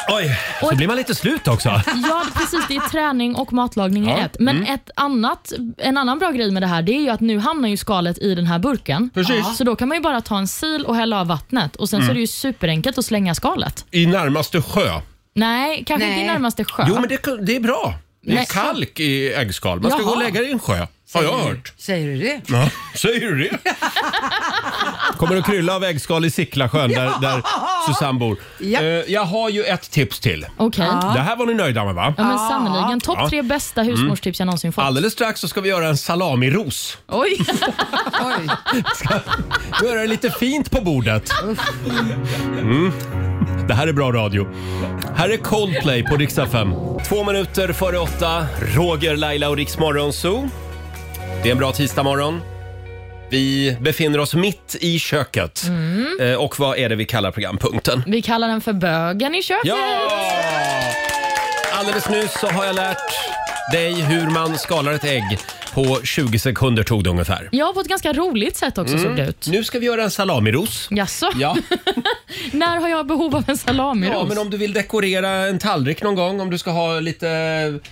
Speaker 1: Oj, så blir man lite slut också.
Speaker 2: Ja, precis. Det är träning och matlagning i
Speaker 1: Ja,
Speaker 2: ett. Men
Speaker 1: mm.
Speaker 2: ett annat, en annan bra grej med det här det är ju att nu hamnar ju skalet i den här burken.
Speaker 1: Precis.
Speaker 2: Så då kan man ju bara ta en sil och hälla av vattnet och sen så
Speaker 1: Mm.
Speaker 2: är det ju superenkelt att slänga skalet.
Speaker 1: I närmaste sjö.
Speaker 2: Nej, kanske
Speaker 1: Nej.
Speaker 2: inte i närmaste sjö.
Speaker 1: Jo, men det, det är bra. Det är
Speaker 2: Nej.
Speaker 1: kalk i äggskal. Man ska
Speaker 2: Jaha.
Speaker 1: gå och lägga det i en sjö. Har jag hört.
Speaker 4: Säger du det?
Speaker 1: Ja, säger du det? Kommer att krylla av äggskal i Sicklasjön där, där Susanne bor.
Speaker 2: Ja.
Speaker 1: Eh, jag har ju ett tips till.
Speaker 2: Okej. Ja.
Speaker 1: Det här var ni nöjda med va?
Speaker 2: Ja, men sannerligen. Topp
Speaker 1: Ja. Mm.
Speaker 2: tre bästa husmorstips jag någonsin fått.
Speaker 1: Alldeles strax så ska vi göra en salamiros.
Speaker 2: Oj!
Speaker 1: Göra det lite fint på bordet. Mm. Det här är bra radio. Här är Coldplay på riksdag 5. Två minuter före åtta. Roger, Laila och Riks Morgonzoo. Det är en bra tisdagmorgon. Vi befinner oss mitt i köket.
Speaker 2: Mm.
Speaker 1: Eh, Och vad är det vi kallar programpunkten?
Speaker 2: Vi kallar den för bögen i köket.
Speaker 1: Alldeles nyss så har jag lärt dig hur man skalar ett ägg. På 20 sekunder tog det ungefär.
Speaker 2: Ja, på ett ganska roligt sätt också såg det ut.
Speaker 1: Nu ska vi göra en salamiros.
Speaker 2: Jaså?
Speaker 1: Mm. Ja.
Speaker 2: När har jag behov av en salamiros?
Speaker 1: Ja, men om du vill dekorera en tallrik någon gång, om du ska ha lite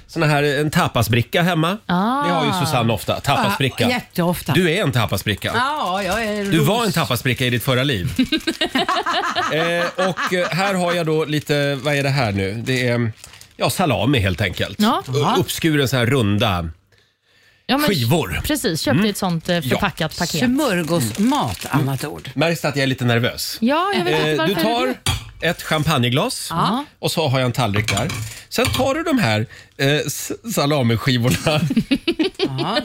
Speaker 1: sån här, en tapasbricka hemma.
Speaker 4: Ah.
Speaker 1: Det har ju Susanne ofta, tapasbricka.
Speaker 4: Ah, jätteofta.
Speaker 1: Du är en tapasbricka.
Speaker 4: Ja, jag är
Speaker 1: Du
Speaker 4: ros-
Speaker 1: var en tapasbricka i ditt förra liv. eh, och eh, här har jag då lite, vad är det här nu? Det är ja, salami helt enkelt.
Speaker 2: Ja.
Speaker 1: U- Uppskuren så här runda.
Speaker 2: Ja, men-
Speaker 1: skivor. Mm.
Speaker 2: Precis, köpte ett sånt eh, förpackat paket.
Speaker 4: Smörgåsmat, annat ord.
Speaker 1: Märks det att jag är lite nervös?
Speaker 2: Ja, jag vet inte
Speaker 1: Eh,
Speaker 2: varför
Speaker 1: du
Speaker 2: är
Speaker 1: tar
Speaker 2: det
Speaker 1: ett champagneglas
Speaker 2: Ja.
Speaker 1: och så har jag en tallrik där. Sen tar du de här eh, s- salamiskivorna.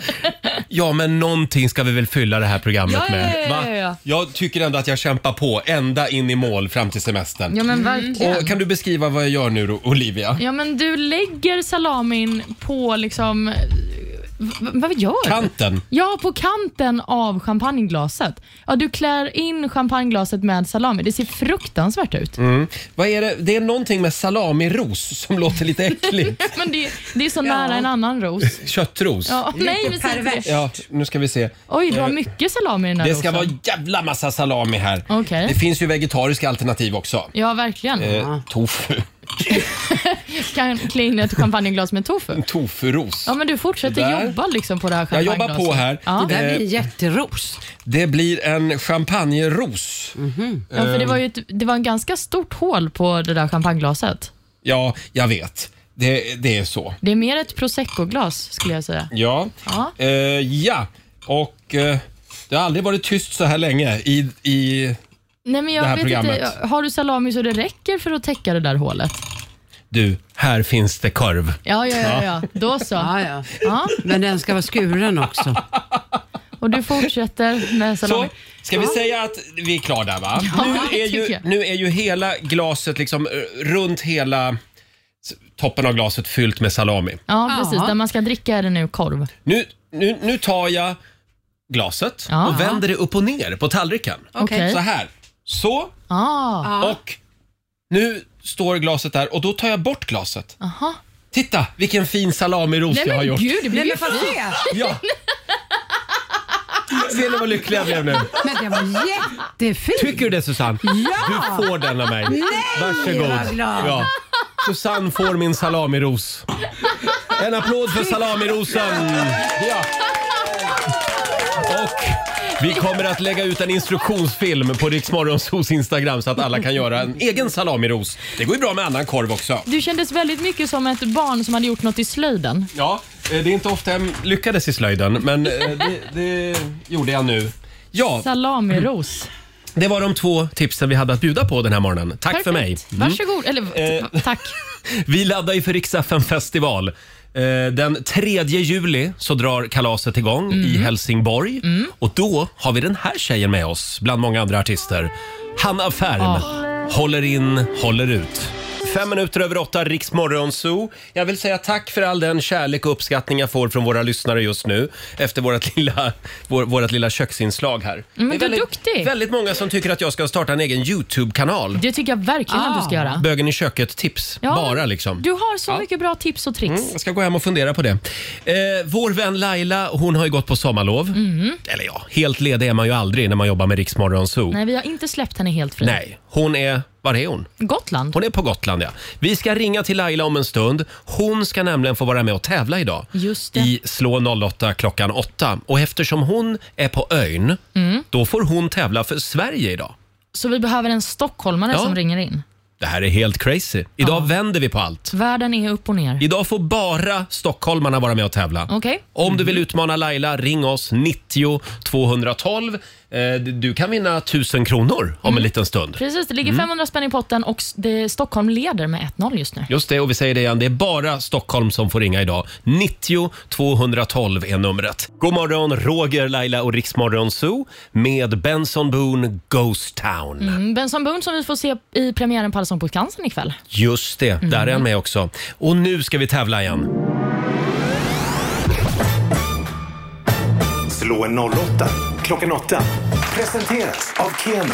Speaker 1: ja, men någonting ska vi väl fylla det här programmet
Speaker 2: Ja, ja,
Speaker 1: med?
Speaker 2: ja, ja, ja.
Speaker 1: Jag tycker ändå att jag kämpar på ända in i mål fram till semestern.
Speaker 2: Ja, men verkligen.
Speaker 1: Och kan du beskriva vad jag gör nu då, Olivia?
Speaker 2: Ja, men du lägger salamin på liksom eh, V- vad gör du?
Speaker 1: Kanten.
Speaker 2: Ja, på kanten av champagneglaset. Ja, du klär in champagneglaset med salami. Det ser fruktansvärt ut.
Speaker 1: Mm. Vad är det? det är någonting med salamiros som låter lite äckligt.
Speaker 2: Men det, det är så nära en annan ros.
Speaker 1: Köttros.
Speaker 2: Ja, nej, men säg inte det.
Speaker 1: Ja, nu ska vi se.
Speaker 2: Oj, du har
Speaker 1: Eh,
Speaker 2: mycket salami i den här
Speaker 1: Det ska
Speaker 2: rosen.
Speaker 1: vara jävla massa salami här.
Speaker 2: Okej.
Speaker 1: Det finns ju vegetariska alternativ också.
Speaker 2: Ja, verkligen.
Speaker 1: Eh, tofu.
Speaker 2: Kan klä in ett champagneglas med tofu.
Speaker 1: Tofuros.
Speaker 2: Ja, men du
Speaker 1: Det
Speaker 2: fortsätter
Speaker 1: där.
Speaker 2: jobba liksom på det här
Speaker 1: Jag jobbar
Speaker 2: champagneglaset.
Speaker 1: på här.
Speaker 2: Ja.
Speaker 1: Det där blir Eh.
Speaker 2: jätteros.
Speaker 1: Det blir en champagneros.
Speaker 2: Ja, för det
Speaker 1: Eh,
Speaker 2: var ju ett, det var en ganska stort hål på det där champagneglaset.
Speaker 1: ja, jag vet. Det, det är så.
Speaker 2: Det är mer ett prosecco-glas skulle jag säga.
Speaker 1: Ja.
Speaker 2: Ja.
Speaker 1: Eh, ja, och eh, det har aldrig varit tyst så här länge i... i
Speaker 2: Nej, men
Speaker 1: Det
Speaker 2: jag
Speaker 1: här
Speaker 2: vet
Speaker 1: programmet.
Speaker 2: inte. Har du salami så det räcker för att täcka det där hålet?
Speaker 1: du, här finns det korv.
Speaker 2: Ja, ja, ja. ja. Då så.
Speaker 4: Ja, ja. Men den ska vara skuren också.
Speaker 2: Och du fortsätter med
Speaker 1: Så,
Speaker 2: salami.
Speaker 1: ska vi säga att vi är klara där va?
Speaker 2: Ja,
Speaker 1: nu, är
Speaker 2: det
Speaker 1: ju,
Speaker 2: tycker jag.
Speaker 1: nu är ju hela glaset liksom eh, runt hela s- toppen av glaset fyllt med salami.
Speaker 2: Ja, precis. Där man ska dricka är det nu korv.
Speaker 1: Nu, nu, nu tar jag glaset
Speaker 2: Ja.
Speaker 1: och vänder det upp och ner på tallriken.
Speaker 2: Okej.
Speaker 1: Så här. Så.
Speaker 2: Ah.
Speaker 1: Och nu står glaset där och då tar jag bort glaset.
Speaker 2: Aha.
Speaker 1: Titta vilken fin salamiros
Speaker 2: Nej,
Speaker 1: jag har
Speaker 2: men
Speaker 1: gjort.
Speaker 2: gud, det blir
Speaker 4: Nej,
Speaker 2: ju
Speaker 4: men får jag
Speaker 2: fint.
Speaker 4: se?
Speaker 1: Ja. Ser ni vad lycklig jag blev nu?
Speaker 4: Men det var jättefint.
Speaker 1: Tycker du det Susanne?
Speaker 4: Ja!
Speaker 1: Du får den av mig.
Speaker 4: Nej, vad
Speaker 1: Varsågod.
Speaker 4: glad.
Speaker 1: Ja. Susanne får min salamiros. En applåd för salamirosen. Ja. Och vi kommer att lägga ut en instruktionsfilm på Riksmorgonsos Instagram så att alla kan göra en egen salamiros. Det går ju bra med annan korv också.
Speaker 2: Du kändes väldigt mycket som ett barn som hade gjort något i slöjden.
Speaker 1: Ja, eh, det är inte ofta jag lyckades i slöjden, men eh, det, det gjorde jag nu. Ja,
Speaker 2: Salamiros.
Speaker 1: det var de två tipsen vi hade att bjuda på den här morgonen. Tack för mig.
Speaker 2: Perfekt.
Speaker 1: Mm.
Speaker 2: Varsågod. Eller, t- tack.
Speaker 1: Vi laddar ju för Rix FM festival. Eh, Den 3 juli så drar kalaset igång i
Speaker 2: Mm.
Speaker 1: Helsingborg. Och då har vi den här tjejen med oss, bland många andra artister. Hanna Färm.
Speaker 2: Ah.
Speaker 1: Håller in, håller ut. Fem minuter över åtta, Riks Morgonzoo. Jag vill säga tack för all den kärlek och uppskattning jag får från våra lyssnare just nu efter vårt lilla, vår, vårt lilla köksinslag här.
Speaker 2: Mm,
Speaker 1: Det är
Speaker 2: du är
Speaker 1: väldigt,
Speaker 2: duktig.
Speaker 1: väldigt många som tycker att jag ska starta en egen YouTube-kanal.
Speaker 2: Det tycker jag verkligen att du ska göra.
Speaker 1: Bögen i köket-tips,
Speaker 2: Ja,
Speaker 1: bara liksom. Mm.
Speaker 2: Du har så mycket bra tips och tricks.
Speaker 1: Jag ska gå hem och fundera på det. Eh, vår vän Laila, hon har ju gått på sommarlov.
Speaker 2: Mhm.
Speaker 1: Eller ja, helt ledig är man ju aldrig när man jobbar med Riksmorgon Zoo. Nej.
Speaker 2: Nej, vi har inte släppt henne helt fri.
Speaker 1: hon är... Var är hon?
Speaker 2: Gotland.
Speaker 1: Hon är på Gotland, ja. Vi ska ringa till Laila om en stund. Hon ska nämligen få vara med och tävla idag.
Speaker 2: Just det.
Speaker 1: I Slå 08 klockan 8. Och eftersom hon är på ön,
Speaker 2: Mm.
Speaker 1: då får hon tävla för Sverige idag.
Speaker 2: Så vi behöver en stockholmare
Speaker 1: Ja.
Speaker 2: som ringer in.
Speaker 1: Det här är helt crazy. Idag vänder vi på allt.
Speaker 2: Världen är upp och ner.
Speaker 1: Idag får bara stockholmarna vara med och tävla.
Speaker 2: Okej?
Speaker 1: Om du vill utmana Laila, ring oss 90 212. Eh, Du kan vinna 1000 kronor om en liten stund.
Speaker 2: Precis, det
Speaker 1: Mm.
Speaker 2: ligger 500 spänn i potten och s- det, Stockholm leder med 1-0 just nu.
Speaker 1: Just det, och vi säger det igen, det är bara Stockholm som får ringa idag. 90 212 är numret. God morgon, Roger, Laila och Riksmorgon Zoo med Benson Boone Ghost Town.
Speaker 2: Mm, Benson Boone som vi får se i premiären på Allsång på Skansen ikväll.
Speaker 1: Just det, där är han med också. Och nu ska vi tävla igen.
Speaker 5: Slå en 08 klockan 8. Presenteras av Keno.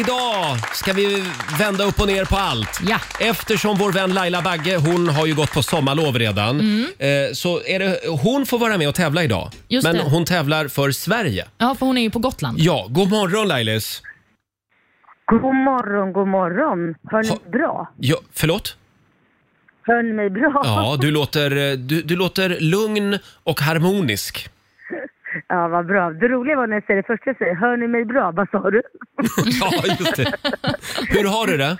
Speaker 1: Idag ska vi vända upp och ner på allt.
Speaker 2: Ja.
Speaker 1: Eftersom vår vän Laila Bagge, hon har ju gått på sommarlov redan. Eh, så är det, hon får vara med och tävla idag.
Speaker 2: Mm. Just
Speaker 1: Men
Speaker 2: det.
Speaker 1: hon tävlar för Sverige.
Speaker 2: Ja, för hon är ju på Gotland.
Speaker 1: Ja, god morgon Lailis.
Speaker 3: God morgon, god morgon. Hör ni mig bra?
Speaker 1: Ja, förlåt?
Speaker 3: Hör ni mig bra?
Speaker 1: Ja, du låter, eh, du, du låter lugn och harmonisk.
Speaker 3: Ja, vad bra. Det roliga var när jag säger det första jag säger, hör ni mig bra? Vad sa du?
Speaker 1: Ja, just det. Hur har du det?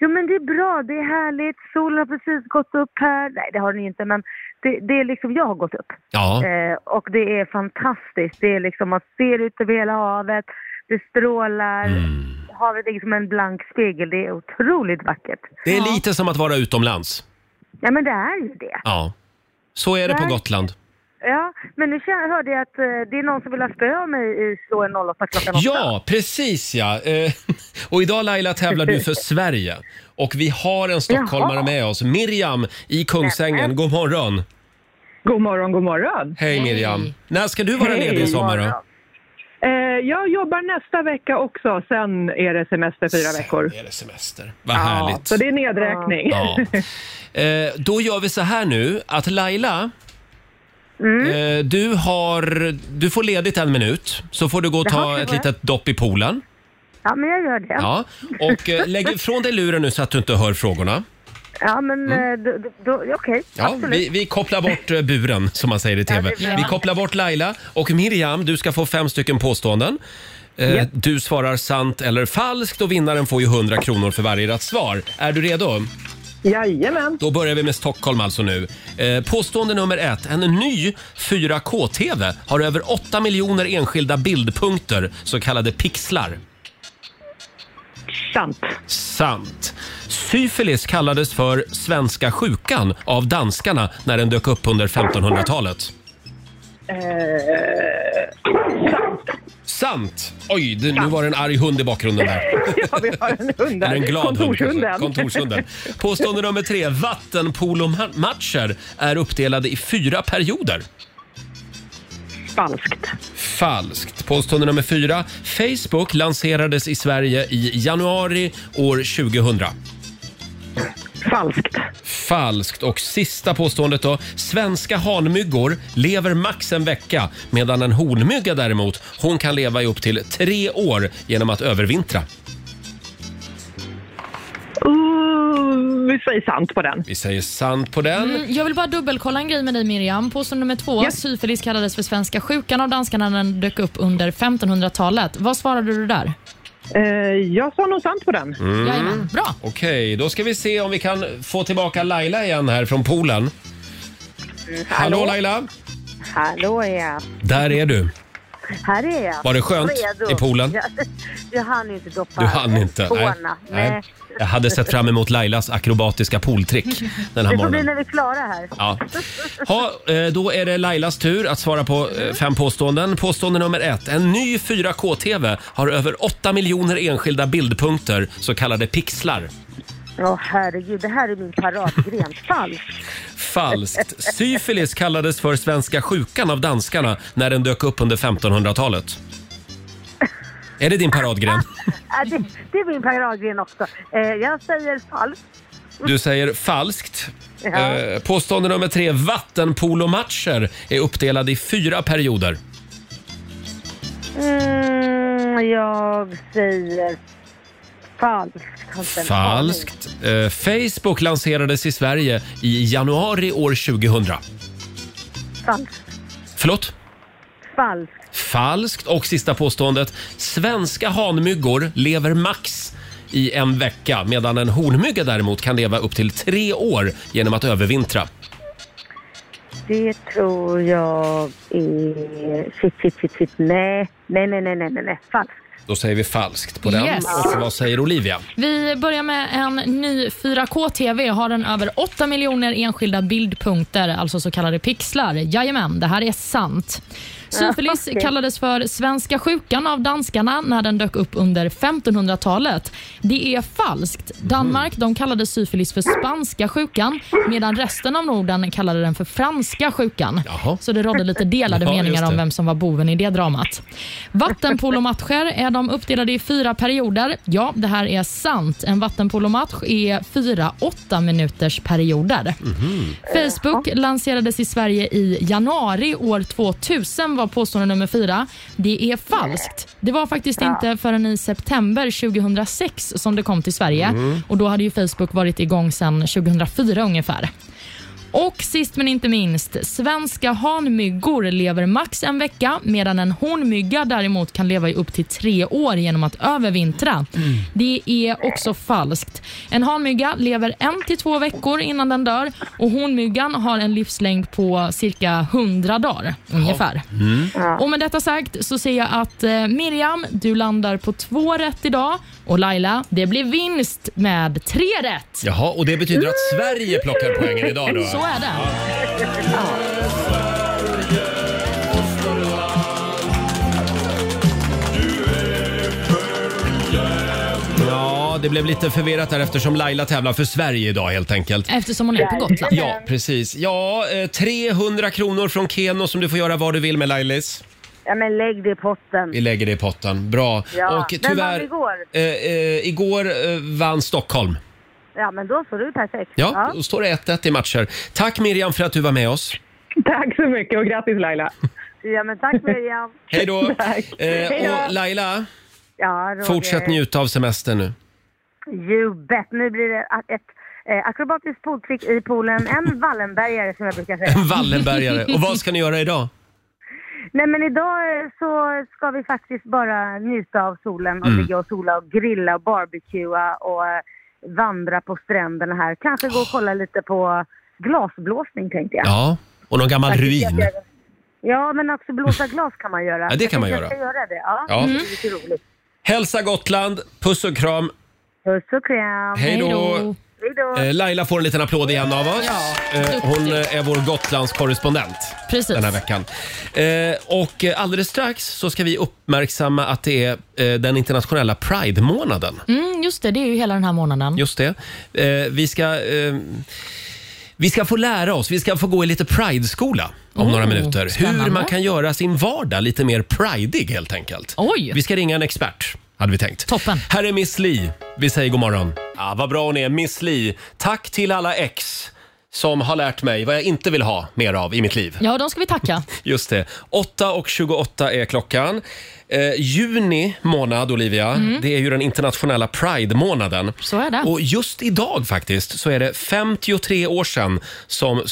Speaker 3: Jo men det är bra, det är härligt. Solen har precis gått upp här. Nej det har den ju inte men det, det är liksom, jag har gått upp.
Speaker 1: Ja.
Speaker 3: Eh, och det är fantastiskt. Det är liksom, man ser ut över hela havet. Det strålar.
Speaker 1: Mm.
Speaker 3: Havet är som en blank spegel. Det är otroligt vackert.
Speaker 1: Det är lite som att vara utomlands.
Speaker 3: Ja men det är ju det.
Speaker 1: Ja. Så är det på
Speaker 3: Nej.
Speaker 1: Gotland.
Speaker 3: Ja, men nu känner- hörde jag att eh, det är någon som vill ha spö av mig i slå en 08 klockan 8.
Speaker 1: Ja, precis ja. Eh, Och idag Laila tävlar du för Sverige. Och vi har en stockholmare
Speaker 11: Jaha.
Speaker 1: med oss, Miriam i Kungsängen.
Speaker 11: Nämen.
Speaker 1: God morgon!
Speaker 11: God morgon, god morgon.
Speaker 1: Hej Miriam! När ska du vara
Speaker 11: Hej.
Speaker 1: ledig i sommar
Speaker 11: God
Speaker 1: då?
Speaker 11: morgon. Eh, jag jobbar nästa vecka också, sen är det semester fyra veckor.
Speaker 1: Är det semester? Vad härligt!
Speaker 11: Så det är nedräkning.
Speaker 1: Ja. Eh, Då gör vi så här nu att Laila,
Speaker 11: Mm.
Speaker 1: eh, du, har, du får ledigt en minut så får du gå och
Speaker 3: Jaha,
Speaker 1: ta
Speaker 3: ska
Speaker 1: ett
Speaker 3: jag?
Speaker 1: litet dopp i poolen.
Speaker 3: Ja, men jag gör det.
Speaker 1: Ja. Och eh, lägg ifrån dig luren nu så att du inte hör frågorna.
Speaker 3: Ja, men eh, då, då, då, okej.
Speaker 1: Mm. Ja,
Speaker 3: absolut.
Speaker 1: vi, vi kopplar bort eh, buren, som man säger i TV.
Speaker 3: Ja, det är bra.
Speaker 1: vi kopplar bort Laila och Miriam, du ska få fem stycken påståenden. Eh,
Speaker 11: Japp.
Speaker 1: Du svarar sant eller falskt och vinnaren får ju 100 kronor för varje rätt svar. Är du redo?
Speaker 11: Jajamän.
Speaker 1: Då börjar vi med Stockholm alltså nu. Eh, Påstående nummer ett. En ny 4K-TV har över 8 miljoner enskilda bildpunkter, så kallade pixlar.
Speaker 11: Sant.
Speaker 1: Sant. Syfilis kallades för svenska sjukan av danskarna när den dök upp under 1500-talet.
Speaker 11: Eh,
Speaker 1: Sant! Oj, det, nu var det en arg hund i bakgrunden där.
Speaker 11: ja, vi har en hund där.
Speaker 1: Eller en glad hund, kanske.
Speaker 11: Kontorshunden.
Speaker 1: Kontorshunden. Påstående nummer tre. Vattenpolomatcher är uppdelade i fyra perioder.
Speaker 11: Falskt.
Speaker 1: Falskt. Påstående nummer fyra. Facebook lanserades i Sverige i januari år 2000.
Speaker 11: Falskt.
Speaker 1: Falskt. Och sista påståendet då. Svenska hanmyggor lever max en vecka medan en hornmygga däremot, hon kan leva i upp till tre år genom att övervintra.
Speaker 11: Uh, vi säger sant på den.
Speaker 1: Vi säger sant på den.
Speaker 2: Mm, jag vill bara dubbelkolla en grej med dig Miriam. Påstående nummer två,
Speaker 11: Ja.
Speaker 2: syfilis kallades för svenska sjukan av danskarna när den dök upp under 1500-talet. Vad svarade du där?
Speaker 11: Eh, jag sa nog sant på den.
Speaker 1: Mm.
Speaker 2: Jajamän, bra.
Speaker 1: Okej, då ska vi se om vi kan få tillbaka Laila igen här från poolen.
Speaker 3: Mm,
Speaker 1: Hallå, Laila!
Speaker 3: Hallå ja.
Speaker 1: Där är du.
Speaker 3: Här är jag.
Speaker 1: Var det skönt
Speaker 3: Redo.
Speaker 1: i poolen?
Speaker 3: Jag, jag hann ju inte doppa
Speaker 1: Du hann inte.
Speaker 3: tårna. Nej.
Speaker 1: Nej. Jag hade sett fram emot Lailas akrobatiska pooltrick den här
Speaker 3: Det får bli
Speaker 1: morgonen.
Speaker 3: när vi är klara här.
Speaker 1: Ja. Ha, eh, då är det Lailas tur att svara på
Speaker 3: Mm.
Speaker 1: eh, fem påståenden. Påstående nummer ett. En ny 4K-TV har över 8 miljoner enskilda bildpunkter, så kallade pixlar.
Speaker 3: Åh herregud, det här är min paradgren. Falskt.
Speaker 1: Falskt. Syfilis kallades för svenska sjukan av danskarna när den dök upp under 1500-talet. Är det din paradgren?
Speaker 3: Ja, det, det är min paradgren också. Eh, jag säger falskt.
Speaker 1: Du säger falskt.
Speaker 3: Ja.
Speaker 1: Eh, påstående nummer tre. Vattenpolomatcher är uppdelade i fyra perioder.
Speaker 3: Mm, jag säger falskt. Har inte en
Speaker 1: Falskt. Eh, Facebook lanserades i Sverige i januari år 2000.
Speaker 3: aning. Falskt.
Speaker 1: Förlåt?
Speaker 3: Falskt.
Speaker 1: Falskt. Och sista påståendet. Svenska hanmyggor lever max i en vecka medan en hornmygga däremot kan leva upp till tre år genom att övervintra.
Speaker 3: Det tror jag är... Shit, shit, shit, shit. Nej, nej, nej, nej, nej, nej, nej. Falskt.
Speaker 1: Då säger vi falskt på den.
Speaker 2: Yes.
Speaker 1: Och vad säger Olivia?
Speaker 2: Vi börjar med en ny 4K-TV. Har den över 8 miljoner enskilda bildpunkter, alltså så kallade pixlar. Jajamän, det här är sant. Syfilis
Speaker 3: Ja, okej.
Speaker 2: kallades för svenska sjukan av danskarna när den dök upp under 1500-talet. Det är falskt.
Speaker 3: Mhm.
Speaker 2: Danmark de kallade syfilis för spanska sjukan medan resten av Norden kallade den för franska sjukan.
Speaker 1: Jaha.
Speaker 2: Så det rådde lite delade
Speaker 1: Ja, just
Speaker 2: meningar
Speaker 1: det.
Speaker 2: om vem som var boven i det dramat. Vattenpolomatcher är de uppdelade i fyra perioder. Ja, det här är sant. En vattenpolomatch är fyra åtta minuters perioder.
Speaker 1: Mhm.
Speaker 2: Facebook lanserades i Sverige i januari år 2000 var påstående nummer fyra. Det är falskt. Det var faktiskt inte förrän i september 2006 som det kom till Sverige
Speaker 1: Mhm.
Speaker 2: och då hade ju Facebook varit igång sedan 2004 ungefär. Och sist men inte minst, svenska hanmyggor lever max en vecka medan en hornmygga däremot kan leva i upp till tre år genom att övervintra. Det är också falskt. En hanmygga lever en till två veckor innan den dör och hornmyggan har en livslängd på cirka 100 dagar ungefär. Och med detta sagt så ser jag att eh, Miriam, du landar på två rätt idag och Laila, det blir vinst med tre rätt.
Speaker 1: Jaha, och det betyder att Sverige plockar poängen idag då?
Speaker 2: Så är det.
Speaker 1: det blev lite förvirrat där eftersom Laila tävlar för Sverige idag helt enkelt.
Speaker 2: Eftersom hon är på Gotland.
Speaker 1: Ja, precis. Ja, eh, 300 kronor från Keno som du får göra vad du vill med Lailis.
Speaker 3: Ja, men lägg det i potten.
Speaker 1: Vi lägger det i potten. Bra.
Speaker 3: Ja.
Speaker 1: Och
Speaker 3: Vem vann
Speaker 1: tyvärr...
Speaker 3: igår?
Speaker 1: Eh, eh, igår eh, vann Stockholm.
Speaker 3: Ja, men då får du perfekt.
Speaker 1: Ja, då står det 1-1 i matcher. Tack Miriam för att du var med oss.
Speaker 11: Tack så mycket och grattis Laila.
Speaker 3: Ja, men tack Miriam.
Speaker 1: Hej då!
Speaker 11: Tack. Hej
Speaker 1: Eh,
Speaker 11: då.
Speaker 1: och Laila,
Speaker 3: Ja, Roger.
Speaker 1: fortsätt njuta av semestern nu.
Speaker 3: You bet. Nu blir det a- ett eh, akrobatiskt poltrick i poolen. En Wallenbergare som jag brukar säga.
Speaker 1: En Wallenbergare. Och vad ska ni göra idag?
Speaker 3: Nej men idag eh, så ska vi faktiskt bara njuta av solen och
Speaker 1: Mm.
Speaker 3: ligga och sola och grilla och barbecua och eh, vandra på stränderna här. Kanske gå och kolla lite på glasblåsning tänkte jag.
Speaker 1: Ja, och någon gammal
Speaker 3: Faktiskt, jag
Speaker 1: ruin.
Speaker 3: ska- Ja men också blåsa glas kan man göra.
Speaker 1: Ja, det kan man
Speaker 3: jag
Speaker 1: göra.
Speaker 3: Jag ska göra det, ja. Mm.
Speaker 1: Ja.
Speaker 3: Det är lite roligt.
Speaker 1: Hälsa Gotland, puss och kram.
Speaker 3: Puss och kram.
Speaker 1: Hej då.
Speaker 3: Hej då.
Speaker 1: Eh, Laila får en liten applåd igen av oss.
Speaker 2: Ja,
Speaker 1: Eh, Hon eh, är vår Gotlandskorrespondent
Speaker 2: Precis.
Speaker 1: den här veckan. Eh, Och eh, alldeles strax så ska vi uppmärksamma att det är eh, den internationella Pride-månaden.
Speaker 2: Mm, just det, det är ju hela den här månaden.
Speaker 1: Just det. Eh, Vi ska, eh, vi ska få lära oss, vi ska få gå i lite Pride-skola om
Speaker 2: Oh,
Speaker 1: några minuter. Hur
Speaker 2: spännande.
Speaker 1: man kan göra sin vardag lite mer pridig helt enkelt.
Speaker 2: Oj.
Speaker 1: Vi ska ringa en expert, hade vi tänkt.
Speaker 2: Toppen.
Speaker 1: Här är Miss Li. Vi säger god morgon. Ja, vad bra hon är, Miss Li. Tack till alla ex som har lärt mig vad jag inte vill ha mer av i mitt liv.
Speaker 2: Ja, de ska vi tacka.
Speaker 1: Just det. 8 och 28 är klockan. Eh, juni månad, Olivia,
Speaker 2: Mm.
Speaker 1: det är ju den internationella Pride-månaden.
Speaker 2: Så är det.
Speaker 1: Och just idag faktiskt så är det 53 år sedan som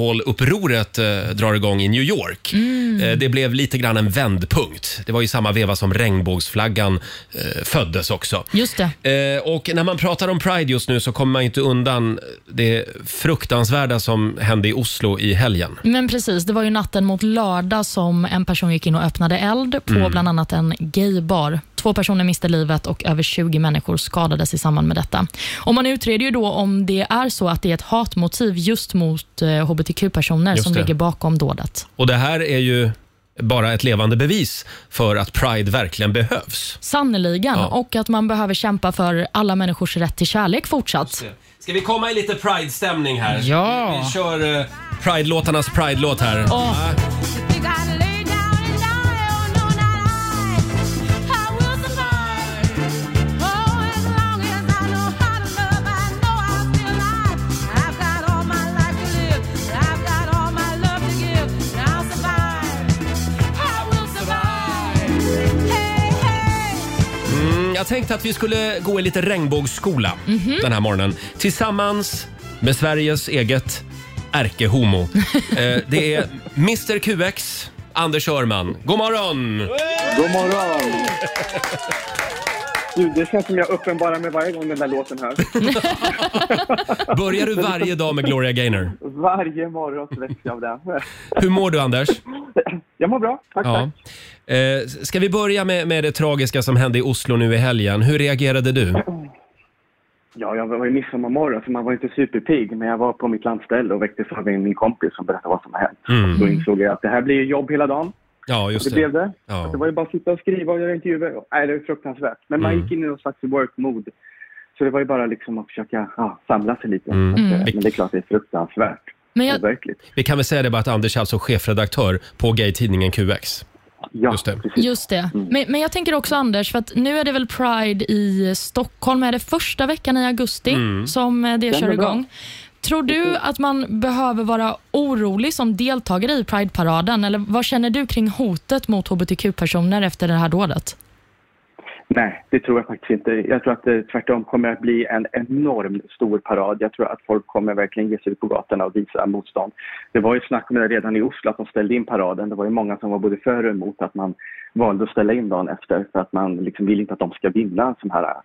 Speaker 1: Stonewall-upproret eh, drar igång i New York.
Speaker 2: Mm.
Speaker 1: Eh, det blev lite grann en vändpunkt. Det var ju samma veva som regnbågsflaggan eh, föddes också.
Speaker 2: Just det.
Speaker 1: Eh, och när man pratar om Pride just nu så kommer man ju inte undan det fruktansvärda som hände i Oslo i helgen.
Speaker 2: Men precis, det var ju natten mot lördag som en person gick in och öppnade eld på
Speaker 1: Mm.
Speaker 2: bland annat en gaybar. Två personer miste livet och över 20 människor skadades i samband med detta. Och man utreder ju då om det är så att det är ett hatmotiv just mot eh, hbtq-personer
Speaker 1: Just
Speaker 2: som
Speaker 1: det.
Speaker 2: ligger bakom dådet.
Speaker 1: Och det här är ju bara ett levande bevis för att Pride verkligen behövs.
Speaker 2: Sannerligen,
Speaker 1: Ja.
Speaker 2: och att man behöver kämpa för alla människors rätt till kärlek fortsatt.
Speaker 1: Ska vi komma i lite Pride-stämning här?
Speaker 2: Ja.
Speaker 1: Vi, vi kör eh, Pride-låtarnas Pride-låt här.
Speaker 2: Åh.
Speaker 10: Oh,
Speaker 1: Mm, jag tänkte att vi skulle gå i lite regnbågsskola den här morgonen. Tillsammans med Sveriges eget ärkehomo. eh, det är Mr QX, Anders Örman. God morgon!
Speaker 12: God morgon! Gud, det känns som jag uppenbarar mig varje gång den där låten hörs.
Speaker 1: Börjar du varje dag med Gloria Gaynor?
Speaker 12: Varje morgon så väcks jag av det.
Speaker 1: Hur mår du Anders?
Speaker 12: Jag mår bra, tack,
Speaker 1: Ja.
Speaker 12: tack.
Speaker 1: Eh, ska vi börja med, med det tragiska som hände i Oslo nu i helgen? Hur reagerade du?
Speaker 12: Ja, jag var ju midsommarmorgon så man var inte superpigg. Men jag var på mitt landställe och väcktes av min min kompis som berättade vad som har hänt.
Speaker 1: Mm.
Speaker 12: Då insåg jag att det här blir ju jobb hela dagen.
Speaker 1: Ja, just
Speaker 12: Och
Speaker 1: det.
Speaker 12: blev det.
Speaker 1: Ja.
Speaker 12: Det var ju bara att sitta och skriva och göra intervjuer. Och- Nej, det var fruktansvärt. Men man
Speaker 1: Mm.
Speaker 12: gick in i någon slags work-mode. Så det var ju bara liksom att försöka ja, samla sig lite.
Speaker 1: Mm.
Speaker 12: Så att, eh,
Speaker 1: Mm.
Speaker 12: Men det är klart det är fruktansvärt.
Speaker 2: Men jag-
Speaker 12: Overkligt.
Speaker 1: Vi kan väl säga det bara att Anders är alltså chefredaktör på gaytidningen QX.
Speaker 12: Ja,
Speaker 1: just det.
Speaker 2: Just det.
Speaker 12: Mm.
Speaker 2: Men, men jag tänker också Anders, för att nu är det väl Pride i Stockholm, är det första veckan i augusti
Speaker 13: Mm.
Speaker 2: som eh, det
Speaker 13: Stämmer
Speaker 2: kör
Speaker 13: bra.
Speaker 2: igång. Tror
Speaker 12: Mm.
Speaker 2: du att man behöver vara orolig som deltagare i Pride-paraden? Eller vad känner du kring hotet mot hbtq-personer efter det här dådet?
Speaker 12: Nej, det tror jag faktiskt inte. Jag tror att det tvärtom kommer att bli en enorm stor parad. Jag tror att folk kommer verkligen ge sig ut på gatorna och visa motstånd. Det var ju snack om det redan i Oslo att de ställde in paraden. Det var ju många som var både för och emot att man valde att ställa in dagen efter för att man liksom vill inte att de ska vinna en sån här eh,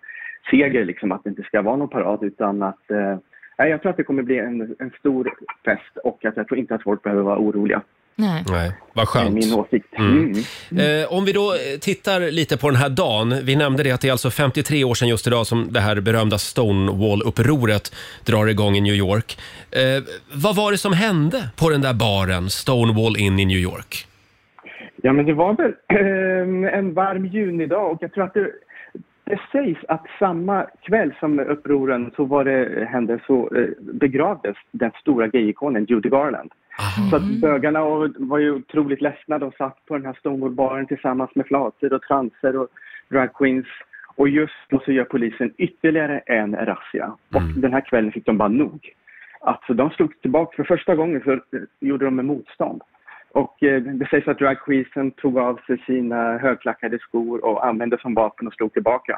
Speaker 12: seger, liksom, att det inte ska vara någon parad utan att eh, nej, jag tror att det kommer bli en, en stor fest och att jag tror inte att folk behöver vara oroliga. Mm.
Speaker 2: Nej.
Speaker 1: Nej, vad
Speaker 12: Det är
Speaker 1: skönt.
Speaker 12: min åsikt.
Speaker 1: Mm. Eh, om vi då eh, tittar lite på den här dagen. Vi nämnde det att det är alltså 53 år sedan just idag som det här berömda Stonewall-upproret drar igång i New York. Eh, vad var det som hände på den där baren, Stonewall Inn i New York?
Speaker 12: Ja, men det var väl eh, en varm junidag och jag tror att det, Det sägs att samma kväll som upproren så var det, hände så eh, begravdes den stora gayikonen Judy Garland. Så att bögarna och- var ju otroligt ledsna. De satt på den här Stonewall-baren tillsammans med flator och transer och dragqueens. Och just då så gör polisen ytterligare en razzia. Och den här kvällen fick de bara nog. Alltså de slog tillbaka. För första gången så eh, gjorde de en motstånd. Och eh, det sägs att dragqueensen tog av sig sina högklackade skor och använde som vapen och slog tillbaka.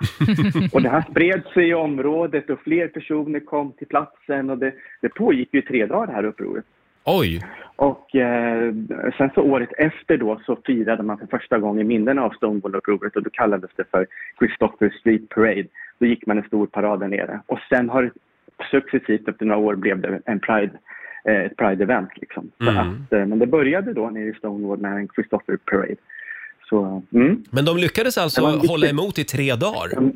Speaker 12: och det här spred sig i området och fler personer kom till platsen och det, det pågick ju i tre dagar det här upproret.
Speaker 1: Oj!
Speaker 12: Och eh, sen så året efter då så firade man för första gången minnen av Stonewall-upproret och då kallades det för Christopher Street Parade. Då gick man en stor parad där nere och sen har det successivt efter några år blev det en Pride, eh, ett Pride-event liksom. Så
Speaker 1: Mm.
Speaker 12: att, eh, men det började då nere i Stonewall med en Christopher Parade. Så, mm.
Speaker 1: Men de lyckades alltså
Speaker 12: Det var en viktig-
Speaker 1: hålla emot i tre dagar?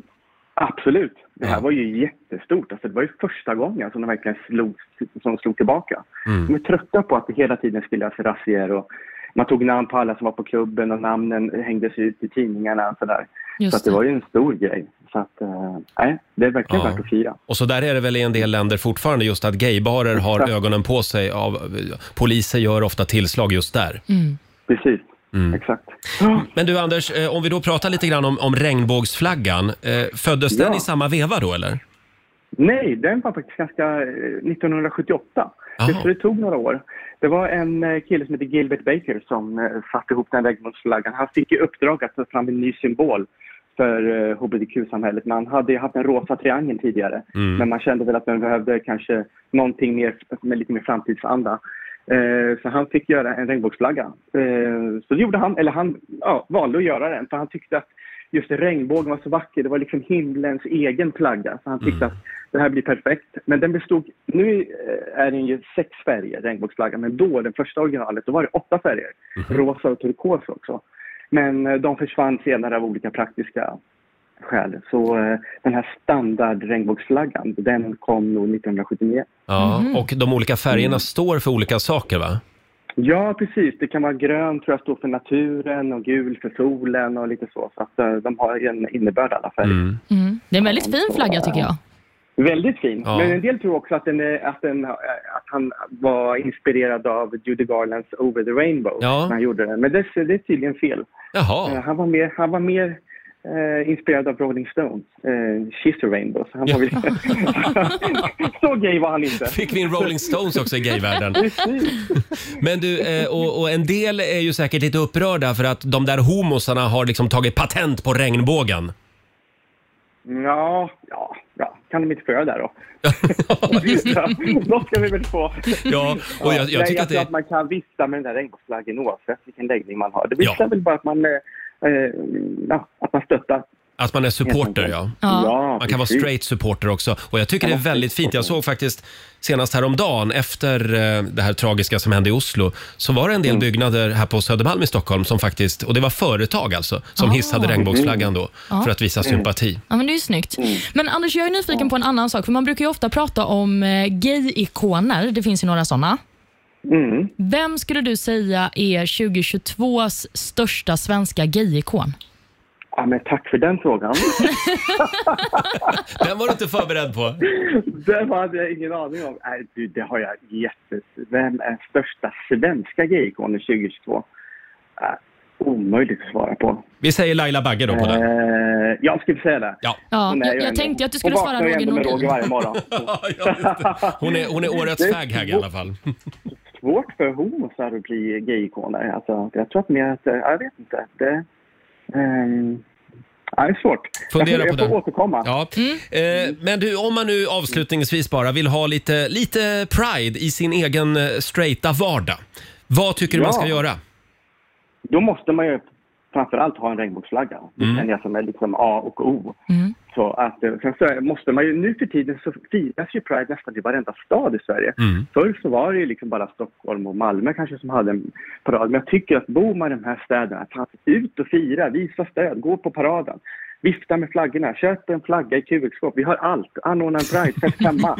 Speaker 12: Absolut. Det här var ju jättestort. Alltså, det var ju första gången som de verkligen slog, som de slog tillbaka.
Speaker 1: Mm.
Speaker 12: De är trötta på att det hela tiden skulle göras razzior och man tog namn på alla som var på klubben och namnen hängdes ut i tidningarna och sådär.
Speaker 1: Just
Speaker 12: Så att det
Speaker 1: det.
Speaker 12: var ju en stor grej. Så att, eh, nej, det är verkligen
Speaker 1: Ja.
Speaker 12: värt att fira.
Speaker 1: Och så där är det väl i en del länder fortfarande, just att gaybarer har
Speaker 12: Exakt.
Speaker 1: ögonen på sig. Av, poliser gör ofta tillslag just där.
Speaker 12: Precis,
Speaker 1: mm.
Speaker 12: exakt.
Speaker 1: Men du Anders, eh, om vi då pratar lite grann om, om regnbågsflaggan. Eh, Föddes den
Speaker 12: Ja.
Speaker 1: i samma veva då eller?
Speaker 12: Nej, den var faktiskt ganska eh, 1978.
Speaker 1: Jaha.
Speaker 12: Så det tog några år. Det var en eh, kille som heter Gilbert Baker som eh, satte ihop den regnbågsflaggan. Han fick i uppdrag att ta fram en ny symbol för eh, hbtq-samhället. Man hade ju haft den rosa triangeln tidigare,
Speaker 13: Mm.
Speaker 12: men man kände väl att man behövde kanske någonting mer med lite mer framtidsanda. Eh, Så han fick göra en regnbågsflagga. Eh, Så det gjorde han, eller han ja, valde att göra den för han tyckte att just regnbågen var så vacker. Det var liksom himlens egen flagga. Så han tyckte att det här blir perfekt. Men den bestod, nu eh, är den ju sex färger, regnbågsflaggan, men då, den första originalet, då var det åtta färger. Rosa och turkos också. Men eh, de försvann senare av olika praktiska skäl. Så eh, den här standard regnbågsflaggan, den kom nog 1979.
Speaker 1: Ja, och de olika färgerna
Speaker 12: Mm.
Speaker 1: står för olika saker va?
Speaker 12: Ja, precis. Det kan vara grön tror jag står för naturen och gul för solen och lite så. Så att eh, de har ju en innebörd alla färger.
Speaker 2: Mm. Det är en väldigt fin flagga tycker jag.
Speaker 12: Väldigt fin.
Speaker 2: Ja.
Speaker 12: Men en del tror också att, den är, att, den, eh, att han var inspirerad av Judy Garlands Over the Rainbow
Speaker 1: Ja.
Speaker 12: när han gjorde den. Men det, det är tydligen fel.
Speaker 1: Jaha.
Speaker 12: Eh, Han var mer, han var mer eh, inspirerad av Rolling Stones, eh, She's a Rainbow. Så, han var väl, så gay var han inte.
Speaker 1: Fick vi in Rolling Stones också i gayvärlden?
Speaker 12: Precis.
Speaker 1: Men du, eh, och, och en del är ju säkert lite upprörda för att de där homosarna har liksom tagit patent på regnbågen.
Speaker 12: Ja, ja, ja, kan de inte få göra det då? ja, då ska vi väl få.
Speaker 1: Ja, och jag- jag
Speaker 12: nej,
Speaker 1: tycker att
Speaker 12: tror
Speaker 1: det-
Speaker 12: att man kan vifta med den där regnbågsflaggan oavsett vilken läggning man har. Det visar väl bara att man, eh, eh, ja, att man stöttar.
Speaker 1: Att man är supporter, ja.
Speaker 12: Ja. Ja,
Speaker 1: Man kan vara
Speaker 12: precis.
Speaker 1: straight supporter också. Och jag tycker det är väldigt fint. Jag såg faktiskt senast häromdagen, efter eh, det här tragiska som hände i Oslo, så var det en del byggnader här på Södermalm i Stockholm som faktiskt, och det var företag alltså, som
Speaker 2: Ah.
Speaker 1: hissade regnbågsflaggan då
Speaker 2: Ja.
Speaker 1: för att visa
Speaker 2: Mm.
Speaker 1: sympati.
Speaker 2: Ja, men det är ju snyggt.
Speaker 12: Mm.
Speaker 2: Men Anders, jag är nyfiken på en annan sak. För Man brukar ju ofta prata om eh, gay-ikoner. Det finns ju några sådana.
Speaker 12: Mm.
Speaker 2: Vem skulle du säga är 2022s största svenska gay-ikon?
Speaker 12: Ja, men tack för den frågan.
Speaker 1: Den var du inte förberedd på.
Speaker 12: Det hade jag ingen aning om. Nej, du, det har jag jättes... Vem är största svenska gayikonen 2022? Äh, omöjligt att svara på.
Speaker 1: Vi säger Laila Bagge då på den.
Speaker 12: Eh, jag skulle säga det.
Speaker 1: Ja.
Speaker 2: Ja,
Speaker 12: Hon är
Speaker 2: jag-
Speaker 12: ju
Speaker 2: jag
Speaker 12: ändå-
Speaker 2: tänkte att du skulle
Speaker 12: hon
Speaker 2: svara
Speaker 12: vaknar ju
Speaker 2: Roger
Speaker 12: ändå med
Speaker 2: Nordin.
Speaker 12: Roger varje morgon.
Speaker 1: Hon är, hon är årets
Speaker 12: Det är
Speaker 1: faghag i alla fall.
Speaker 12: svårt för homosar att bli gayikoner. Alltså, jag tror att mer att... eh, Jag vet inte. Det, ehm, ja, det är svårt. jag
Speaker 1: Fundera
Speaker 12: får,
Speaker 1: på
Speaker 12: jag får
Speaker 1: den.
Speaker 12: återkomma.
Speaker 1: Ja. Eh, men du, om man nu avslutningsvis bara vill ha lite, lite pride i sin egen eh, straighta vardag. Vad tycker du man
Speaker 12: Ja.
Speaker 1: ska göra?
Speaker 12: Då måste man ju framförallt ha en regnbågsflagga. Det känner jag som är liksom A och O. Så att, eh, sen så måste man ju, nu för tiden så firas ju Pride nästan i varenda stad i Sverige. Förr så var det ju liksom bara Stockholm och Malmö kanske som hade en parad. Men jag tycker att bor man i de här städerna, fan, ut och fira, visa stöd, gå på paraden. Vifta med flaggorna, köp en flagga i QX-skåp. Vi har allt. Anordna en pridefest hemma.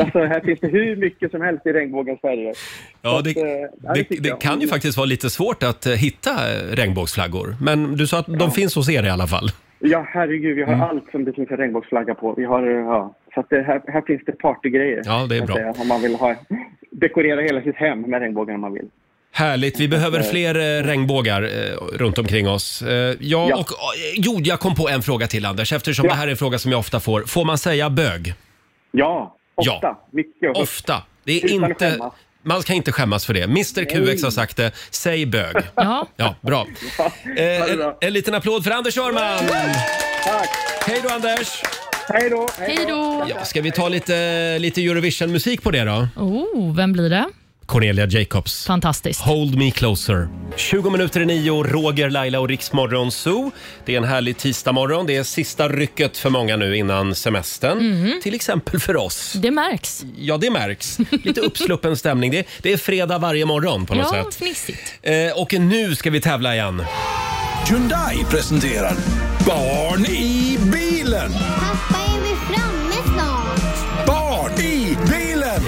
Speaker 12: alltså, här finns det hur mycket som helst i regnbågens färger. Så
Speaker 1: Ja,
Speaker 12: att,
Speaker 1: det,
Speaker 12: eh, ja,
Speaker 1: det,
Speaker 12: tycker
Speaker 1: det
Speaker 12: jag. Mm.
Speaker 1: kan ju faktiskt vara lite svårt att eh, hitta eh, regnbågsflaggor. Men du sa att de finns hos er i alla fall.
Speaker 12: Ja, herregud, vi har
Speaker 1: Mm.
Speaker 12: allt som det finns en regnbågsflagga på. Vi har, eh, ja. Så att det, här, här finns det partygrejer.
Speaker 1: Ja, det är
Speaker 12: kan jag
Speaker 1: bra.
Speaker 12: om man vill ha, dekorera hela sitt hem med regnbågen om man vill.
Speaker 1: Härligt, vi behöver fler eh, regnbågar eh, runt omkring oss. Eh, ja,
Speaker 12: Ja.
Speaker 1: Och, eh, jo, jag kom på en fråga till Anders, eftersom
Speaker 12: Ja.
Speaker 1: det här är en fråga som jag ofta får. Får man säga bög?
Speaker 12: Ja,
Speaker 1: ofta.
Speaker 12: Mycket.
Speaker 1: Ofta. Det är
Speaker 12: Utan att
Speaker 1: inte...
Speaker 12: skämmas.
Speaker 1: Man ska inte skämmas för det. Mr QX har sagt det. Säg bög.
Speaker 2: Ja.
Speaker 1: Ja, bra. Eh, en, en liten applåd för Anders Öhrman! Tack! Hej då Anders!
Speaker 12: Hej då!
Speaker 2: Hej då!
Speaker 1: Ja, ska vi ta lite, lite Eurovision-musik på det då?
Speaker 2: Oh, vem blir det?
Speaker 1: Cornelia Jacobs.
Speaker 2: Fantastiskt.
Speaker 1: Hold me closer. 20 minuter i nio, Roger, Laila och Riksmorgon Zoo. Det är en härlig tisdagmorgon. Det är sista rycket för många nu innan semestern. Till exempel för oss.
Speaker 2: Det märks.
Speaker 1: Ja, det märks. Lite uppsluppen stämning. Det, det är fredag varje morgon på något
Speaker 2: ja,
Speaker 1: sätt.
Speaker 2: fnissigt.
Speaker 1: Eh, och nu ska vi tävla igen.
Speaker 13: Hyundai presenterar Barn i bilen.
Speaker 14: Pappa, är vi framme snart?
Speaker 13: Barn i bilen!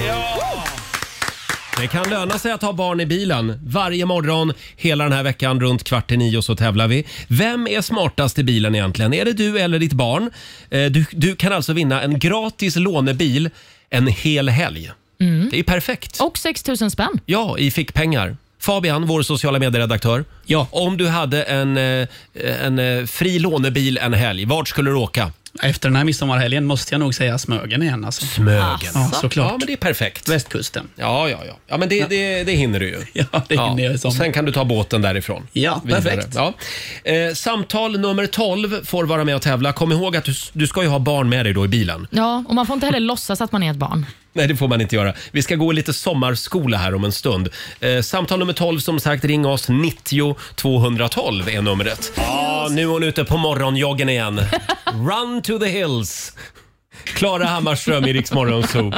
Speaker 1: Det kan löna sig att ha barn i bilen. Varje morgon hela den här veckan runt kvart i nio så tävlar vi. Vem är smartast i bilen egentligen? Är det du eller ditt barn? Eh, Du, du kan alltså vinna en gratis lånebil en hel helg. Det är perfekt.
Speaker 2: Och 6 000 spänn.
Speaker 1: Ja, i fickpengar. Fabian, vår sociala medieredaktör. Ja. Om du hade en, eh, en eh, fri lånebil en helg, vart skulle du åka?
Speaker 6: Efter den här midsommarhelgen måste jag nog säga Smögen igen. Alltså.
Speaker 1: Smögen.
Speaker 6: Ja, såklart.
Speaker 1: Ja, men det är perfekt.
Speaker 6: Västkusten.
Speaker 1: Ja, ja, ja. Ja, men det, det, det hinner du ju.
Speaker 6: Ja, det hinner jag i sommar.
Speaker 1: Sen kan du ta båten därifrån.
Speaker 6: Ja,
Speaker 1: Vidare.
Speaker 6: perfekt.
Speaker 1: Ja. Eh, samtal nummer 12 får vara med och tävla. Kom ihåg att du, du ska ju ha barn med dig då i bilen.
Speaker 2: Ja, och man får inte heller låtsas att man är ett barn.
Speaker 1: Nej, det får man inte göra. Vi ska gå lite sommarskola här om en stund. Eh, samtal nummer 12, som sagt, ring oss. 90 212 är numret. Ja, nu är hon ute på morgonjoggen igen. Run to the hills! Klara Hammarström i Rix Morgon Zoo.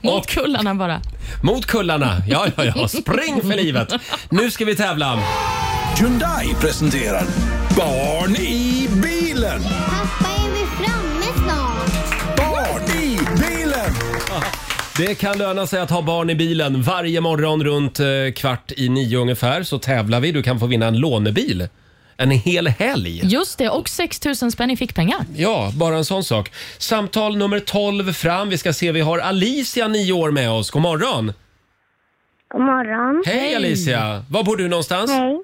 Speaker 2: Mot kullarna bara.
Speaker 1: Mot kullarna. Ja, ja, ja. Spring för livet. Nu ska vi tävla.
Speaker 13: Hyundai presenterar Barn i bilen.
Speaker 14: Pappa, är vi framme snart?
Speaker 13: Barn i bilen.
Speaker 1: Det kan löna sig att ha barn i bilen. Varje morgon runt eh, kvart i nio ungefär så tävlar vi. Du kan få vinna en lånebil. En hel helg.
Speaker 2: Just det, och 6 000 spänn i fickpengar.
Speaker 1: Ja, bara en sån sak. Samtal nummer 12 fram. Vi ska se, vi har Alicia, nio år, med oss. God morgon!
Speaker 14: God morgon.
Speaker 1: Hej, Alicia! Var bor du någonstans?
Speaker 14: Hej.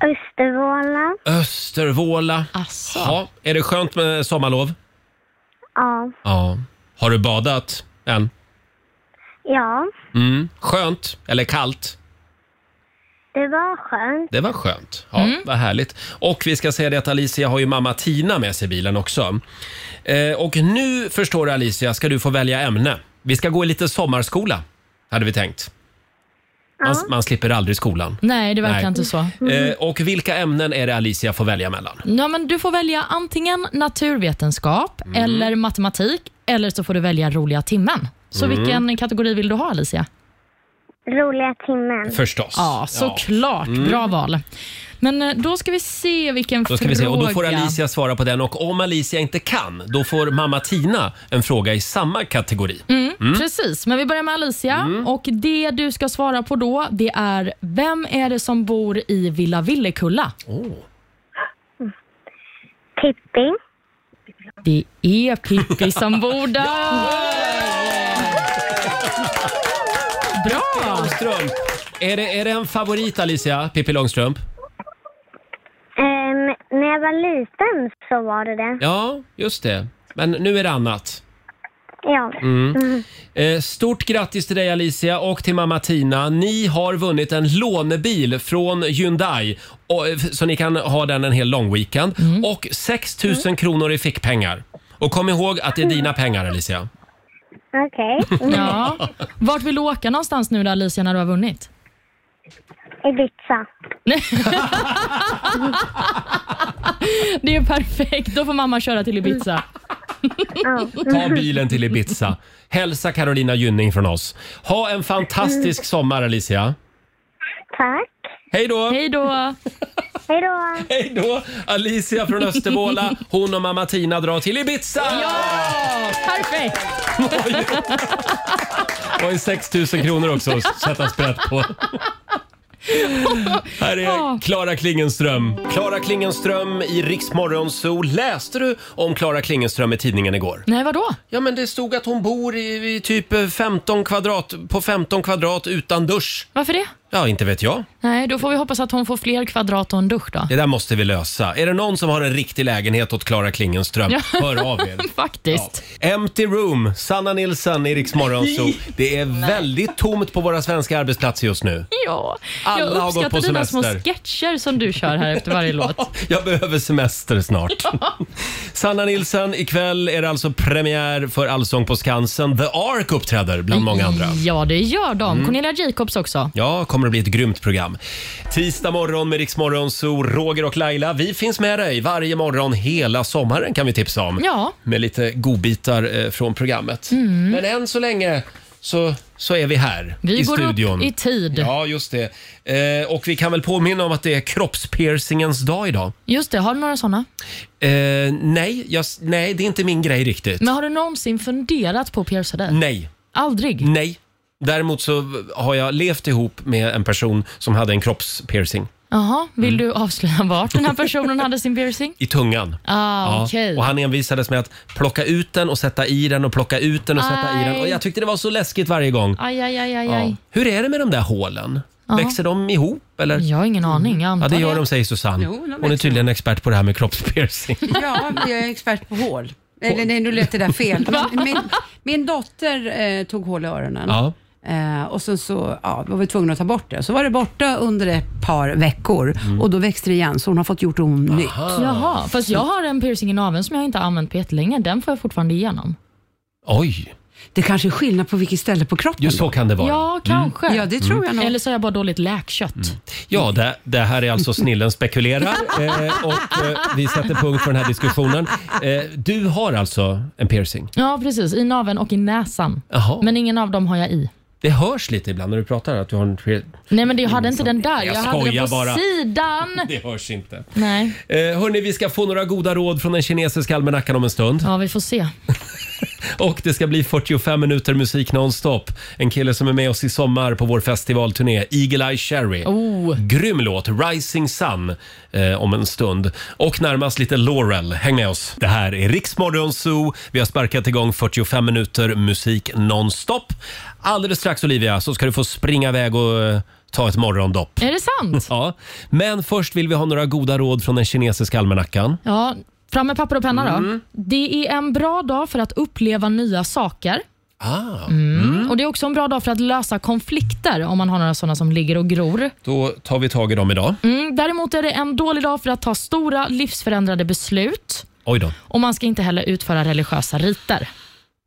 Speaker 14: Östervåla.
Speaker 1: Östervåla.
Speaker 2: Asså.
Speaker 1: Ja, är det skönt med sommarlov?
Speaker 14: Ja.
Speaker 1: Ja. Har du badat än?
Speaker 14: Ja,
Speaker 1: Mm. Skönt? Eller kallt?
Speaker 14: det var skönt.
Speaker 1: Det var skönt. Ja,
Speaker 2: Mm.
Speaker 1: Vad härligt. Och vi ska säga det att Alicia har ju mamma Tina med sig i bilen också. Eh, och nu, förstår du Alicia, ska du få välja ämne. Vi ska gå i lite sommarskola, hade vi tänkt. Man, man slipper aldrig skolan.
Speaker 2: Nej, det verkar
Speaker 1: Nej.
Speaker 2: inte så.
Speaker 1: Eh, och vilka ämnen är det Alicia får välja mellan?
Speaker 2: Ja, men du får välja antingen naturvetenskap
Speaker 1: Mm.
Speaker 2: eller matematik eller så får du välja roliga timmen. Så
Speaker 1: Mm.
Speaker 2: vilken kategori vill du ha Alicia?
Speaker 14: Roliga timmen.
Speaker 1: Förstås.
Speaker 2: Ja, såklart.
Speaker 1: Mm.
Speaker 2: Bra val. Men eh, då ska vi se vilken
Speaker 1: Då ska
Speaker 2: fråga.
Speaker 1: vi se. Och då får Alicia svara på den och om Alicia inte kan, då får mamma Tina en fråga i samma kategori.
Speaker 2: Mm,
Speaker 1: Mm.
Speaker 2: Precis, men vi börjar med Alicia. Och Det du ska svara på då det är vem är det som bor i Villa Villekulla?
Speaker 14: Pippi.
Speaker 2: Det är Pippi som bor där. Bra!
Speaker 1: Långstrump. Är det, är det en favorit Alicia, Pippi Långstrump?
Speaker 14: Ehm, när jag var liten så var det det.
Speaker 1: Ja, just det. Men nu är det annat.
Speaker 14: Ja.
Speaker 1: Mm.
Speaker 14: Mm.
Speaker 1: Eh, Stort grattis till dig Alicia och till mamma Tina. Ni har vunnit en lånebil från Hyundai. Och, eh, f- så ni kan ha den en hel lång weekend. Och 6 000 kronor i fickpengar. Och kom ihåg att det är dina pengar Alicia.
Speaker 14: Okej.
Speaker 2: Ja. Vart vill du åka någonstans nu då Alicia när du har vunnit?
Speaker 14: Ibiza.
Speaker 2: Det är perfekt, då får mamma köra till Ibiza.
Speaker 1: Ta bilen till Ibiza. Hälsa Carolina Gynning från oss. Ha en fantastisk sommar Alicia.
Speaker 14: Tack.
Speaker 1: Hej då!
Speaker 2: Hej då!
Speaker 14: Hej då.
Speaker 1: Hej då! Alicia från Östervåla. Hon och mamma Tina drar till Ibiza!
Speaker 2: Perfekt!
Speaker 1: Och en 6 000 kronor också att sätta sprätt på. Här är Klara Klingenström. Klara Klingenström i Riksmorgon Zoo. Läste du om Klara Klingenström i tidningen igår?
Speaker 2: Nej, vadå?
Speaker 1: Ja, men det stod att hon bor i, i typ eh, 15 kvadrat, på 15 kvadrat utan dusch.
Speaker 2: Varför det?
Speaker 1: Ja, inte vet jag.
Speaker 2: Nej, då får vi hoppas att hon får fler kvadrat och en dusch då.
Speaker 1: Det där måste vi lösa. Är det någon som har en riktig lägenhet åt Klara Klingenström,
Speaker 2: Ja.
Speaker 1: hör av er.
Speaker 2: Faktiskt.
Speaker 1: Empty room, Sanna Nilsson i Rix Morgon Zoo. Det är väldigt tomt på våra svenska arbetsplatser just nu.
Speaker 2: Ja,
Speaker 1: Alla har
Speaker 2: jag
Speaker 1: gått
Speaker 2: uppskattar
Speaker 1: på
Speaker 2: dina
Speaker 1: semester.
Speaker 2: små sketcher som du kör här efter varje låt.
Speaker 1: Jag behöver semester snart. Sanna Nilsson, ikväll är det alltså premiär för Allsång på Skansen. The Ark uppträder bland många andra.
Speaker 2: Ja, det gör de.
Speaker 1: Mm.
Speaker 2: Cornelia Jacobs också.
Speaker 1: Ja, kommer det bli ett grymt program. Tisdag morgon med Rix Morgon Zoo, Roger och Laila. Vi finns med dig varje morgon hela sommaren kan vi tipsa om.
Speaker 2: Ja. Mm.
Speaker 1: Med lite godbitar eh, från programmet. Men än så länge så, så är vi här
Speaker 2: Vi
Speaker 1: i
Speaker 2: går
Speaker 1: studion.
Speaker 2: upp i tid.
Speaker 1: Ja, just det. Eh, och vi kan väl påminna om att det är kroppspiercingens dag idag.
Speaker 2: Just det, har du några sådana?
Speaker 1: Eh, nej, jag, nej, det är inte min grej riktigt.
Speaker 2: Men har du någonsin funderat på att pierca dig?
Speaker 1: Nej.
Speaker 2: Aldrig?
Speaker 1: Nej. Däremot så har jag levt ihop med en person som hade en kroppspiercing.
Speaker 2: Jaha, vill
Speaker 1: Mm.
Speaker 2: du avslöja vart den här personen hade sin piercing?
Speaker 1: I tungan.
Speaker 2: Ah, okej.
Speaker 1: Och han envisades med att plocka ut den och sätta i den och plocka ut den och sätta i den.
Speaker 2: Aj.
Speaker 1: Och jag tyckte det var så läskigt varje gång.
Speaker 2: Aj, aj, aj, aj,
Speaker 1: Ja.
Speaker 2: aj.
Speaker 1: Hur är det med de där hålen?
Speaker 2: Ja.
Speaker 1: Växer de ihop eller?
Speaker 2: Jag har ingen aning, jag
Speaker 1: Ja,
Speaker 2: antar
Speaker 1: det gör de säger Susanne.
Speaker 4: Jo, de
Speaker 1: Hon är
Speaker 4: växer
Speaker 1: tydligen expert på det här med kroppspiercing.
Speaker 4: Ja, men jag är expert på hål. Eller nej, nu lät det där fel. Men Min, min dotter eh, tog hål i öronen.
Speaker 1: Ja.
Speaker 4: Eh, och sen så ja, var vi tvungna att ta bort det. Så var det borta under ett par veckor och då växte det igen, så hon har fått gjort om nytt.
Speaker 2: Jaha, fast jag har en piercing i naveln som jag inte har använt på jättelänge. Den får jag fortfarande igenom.
Speaker 1: Oj!
Speaker 4: Det kanske är skillnad på vilket ställe på kroppen.
Speaker 1: Just så kan det vara.
Speaker 2: Ja, kanske.
Speaker 4: Ja, det tror jag nog.
Speaker 2: Eller så har jag bara dåligt läkkött.
Speaker 1: Mm. Ja, det, det här är alltså Snillen spekulerar eh, och eh, vi sätter punkt för den här diskussionen. Eh, du har alltså en piercing.
Speaker 2: Ja, precis. I naveln och i näsan.
Speaker 1: Jaha.
Speaker 2: Men ingen av dem har jag i.
Speaker 1: Det hörs lite ibland när du pratar att du har en piercing.
Speaker 2: Nej, men det- jag hade inte den där.
Speaker 1: Jag
Speaker 2: Jag, hade
Speaker 1: skojar
Speaker 2: den på
Speaker 1: bara.
Speaker 2: sidan.
Speaker 1: Det hörs inte.
Speaker 2: Nej,
Speaker 1: Eh, hörni, vi ska få några goda råd från den kinesiska almanackan om en stund.
Speaker 2: ja, vi får se.
Speaker 1: Och det ska bli 45 minuter musik nonstop. En kille som är med oss i sommar på vår festivalturné, Eagle Eye Cherry.
Speaker 2: Oh.
Speaker 1: Grym låt, Rising Sun, eh, om en stund. Och närmast lite Laurel. Häng med oss. Det här är Riksmorgon Zoo. Vi har sparkat igång 45 minuter musik nonstop. Alldeles strax, Olivia, så ska du få springa iväg och eh, ta ett morgondopp.
Speaker 2: Är det sant?
Speaker 1: Ja, men först vill vi ha några goda råd från den kinesiska almanackan.
Speaker 2: Ja, fram med papper och penna då.
Speaker 1: Mm.
Speaker 2: Det är en bra dag för att uppleva nya saker. Mm.
Speaker 1: Ah.
Speaker 2: Och Det är också en bra dag för att lösa konflikter om man har några sådana som ligger och gror.
Speaker 1: Då tar vi tag i dem idag.
Speaker 2: Mm, däremot är det en dålig dag för att ta stora livsförändrande beslut.
Speaker 1: Oj då.
Speaker 2: Och man ska inte heller utföra religiösa riter.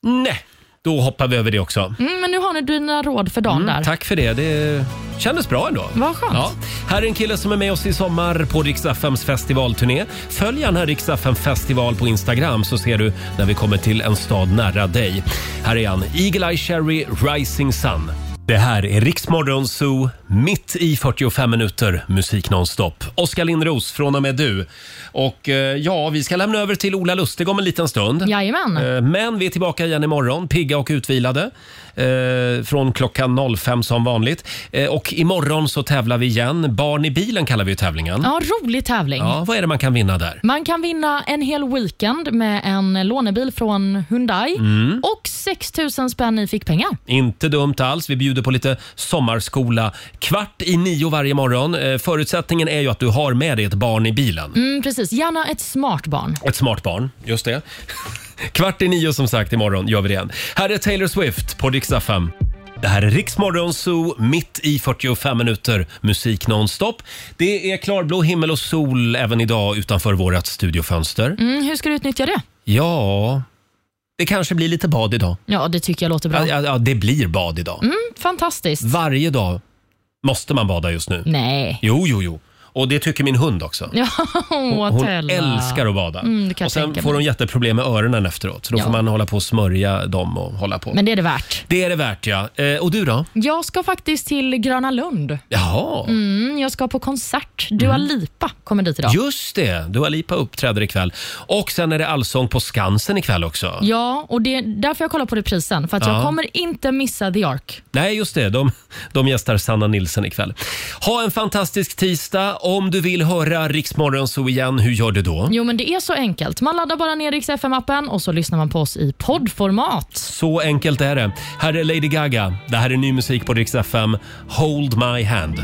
Speaker 1: Nej, då hoppar vi över det också.
Speaker 2: Mm, men nu har ni dina råd för dagen där.
Speaker 1: Mm, Tack för det. Det kändes bra ändå.
Speaker 2: Vad skönt.
Speaker 1: Ja. Här är en kille som är med oss i sommar på Rix FMs festivalturné. Följ gärna Rix FM festival på Instagram så ser du när vi kommer till en stad nära dig. Här är han, Eagle Eye Cherry Rising Sun. Det här är Riksmorgon Zoo, mitt i 45 minuter musik nonstop. Oskar Lindros, från och med du. Och eh, ja, vi ska lämna över till Ola Lustig om en liten stund.
Speaker 2: Jajamän.
Speaker 1: Eh, Men vi är tillbaka igen imorgon, pigga och utvilade. Eh, från klockan 05 som vanligt. Eh, och imorgon så tävlar vi igen. Barn i bilen kallar vi ju tävlingen.
Speaker 2: Ja, rolig tävling.
Speaker 1: Ja, vad är det man kan vinna där?
Speaker 2: Man kan vinna en hel weekend med en lånebil från Hyundai
Speaker 1: Mm.
Speaker 2: och 6 000 spänn i fickpengar.
Speaker 1: Inte dumt alls. Vi bjuder på lite sommarskola kvart i nio varje morgon. Eh, Förutsättningen är ju att du har med dig ett barn i bilen.
Speaker 2: Mm, precis. Gärna ett smart barn.
Speaker 1: Ett smart barn, just det. Kvart i nio som sagt imorgon gör vi det igen. Här är Taylor Swift på riksdag 5. Det här är Riksmorgon Zoo, mitt i 45 minuter musik nonstop. Det är klarblå himmel och sol även idag utanför vårt studiofönster.
Speaker 2: Mm, hur ska du utnyttja det?
Speaker 1: Ja, det kanske blir lite bad idag.
Speaker 2: Ja, det tycker jag låter bra.
Speaker 1: Ja, ja, ja, det blir bad idag.
Speaker 2: Mm, fantastiskt. Mm.
Speaker 1: Varje dag måste man bada just nu.
Speaker 2: Nej.
Speaker 1: Jo, jo, jo. Och det tycker min hund också.
Speaker 2: Ja,
Speaker 1: Hon, hon
Speaker 2: Tella.
Speaker 1: älskar att bada.
Speaker 2: Mm, det kan jag
Speaker 1: och sen
Speaker 2: tänka
Speaker 1: får
Speaker 2: mig.
Speaker 1: hon jätteproblem med öronen efteråt. Så då
Speaker 2: Ja.
Speaker 1: får man hålla på och smörja dem och hålla på.
Speaker 2: Men det är det värt.
Speaker 1: Det är det värt ja. Eh, och du då?
Speaker 2: Jag ska faktiskt till Gröna Lund.
Speaker 1: Jaha.
Speaker 2: Mm, jag ska på konsert. Dua
Speaker 1: Mm.
Speaker 2: Lipa kommer dit idag.
Speaker 1: Just det, Dua Lipa uppträder ikväll. Och sen är det allsång på Skansen ikväll också.
Speaker 2: Ja, och det, därför jag kollar på reprisen. För att
Speaker 1: Ja.
Speaker 2: jag kommer inte missa The Ark.
Speaker 1: Nej, just det. De, de gästar Sanna Nilsson ikväll. Ha en fantastisk tisdag. Om du vill höra Riksmorgon så igen, hur gör du då?
Speaker 2: Jo, men det är så enkelt. Man laddar bara ner Rix FM-appen och så lyssnar man på oss i poddformat.
Speaker 1: Så enkelt är det. Här är Lady Gaga. Det här är ny musik på Rix FM. Hold my hand.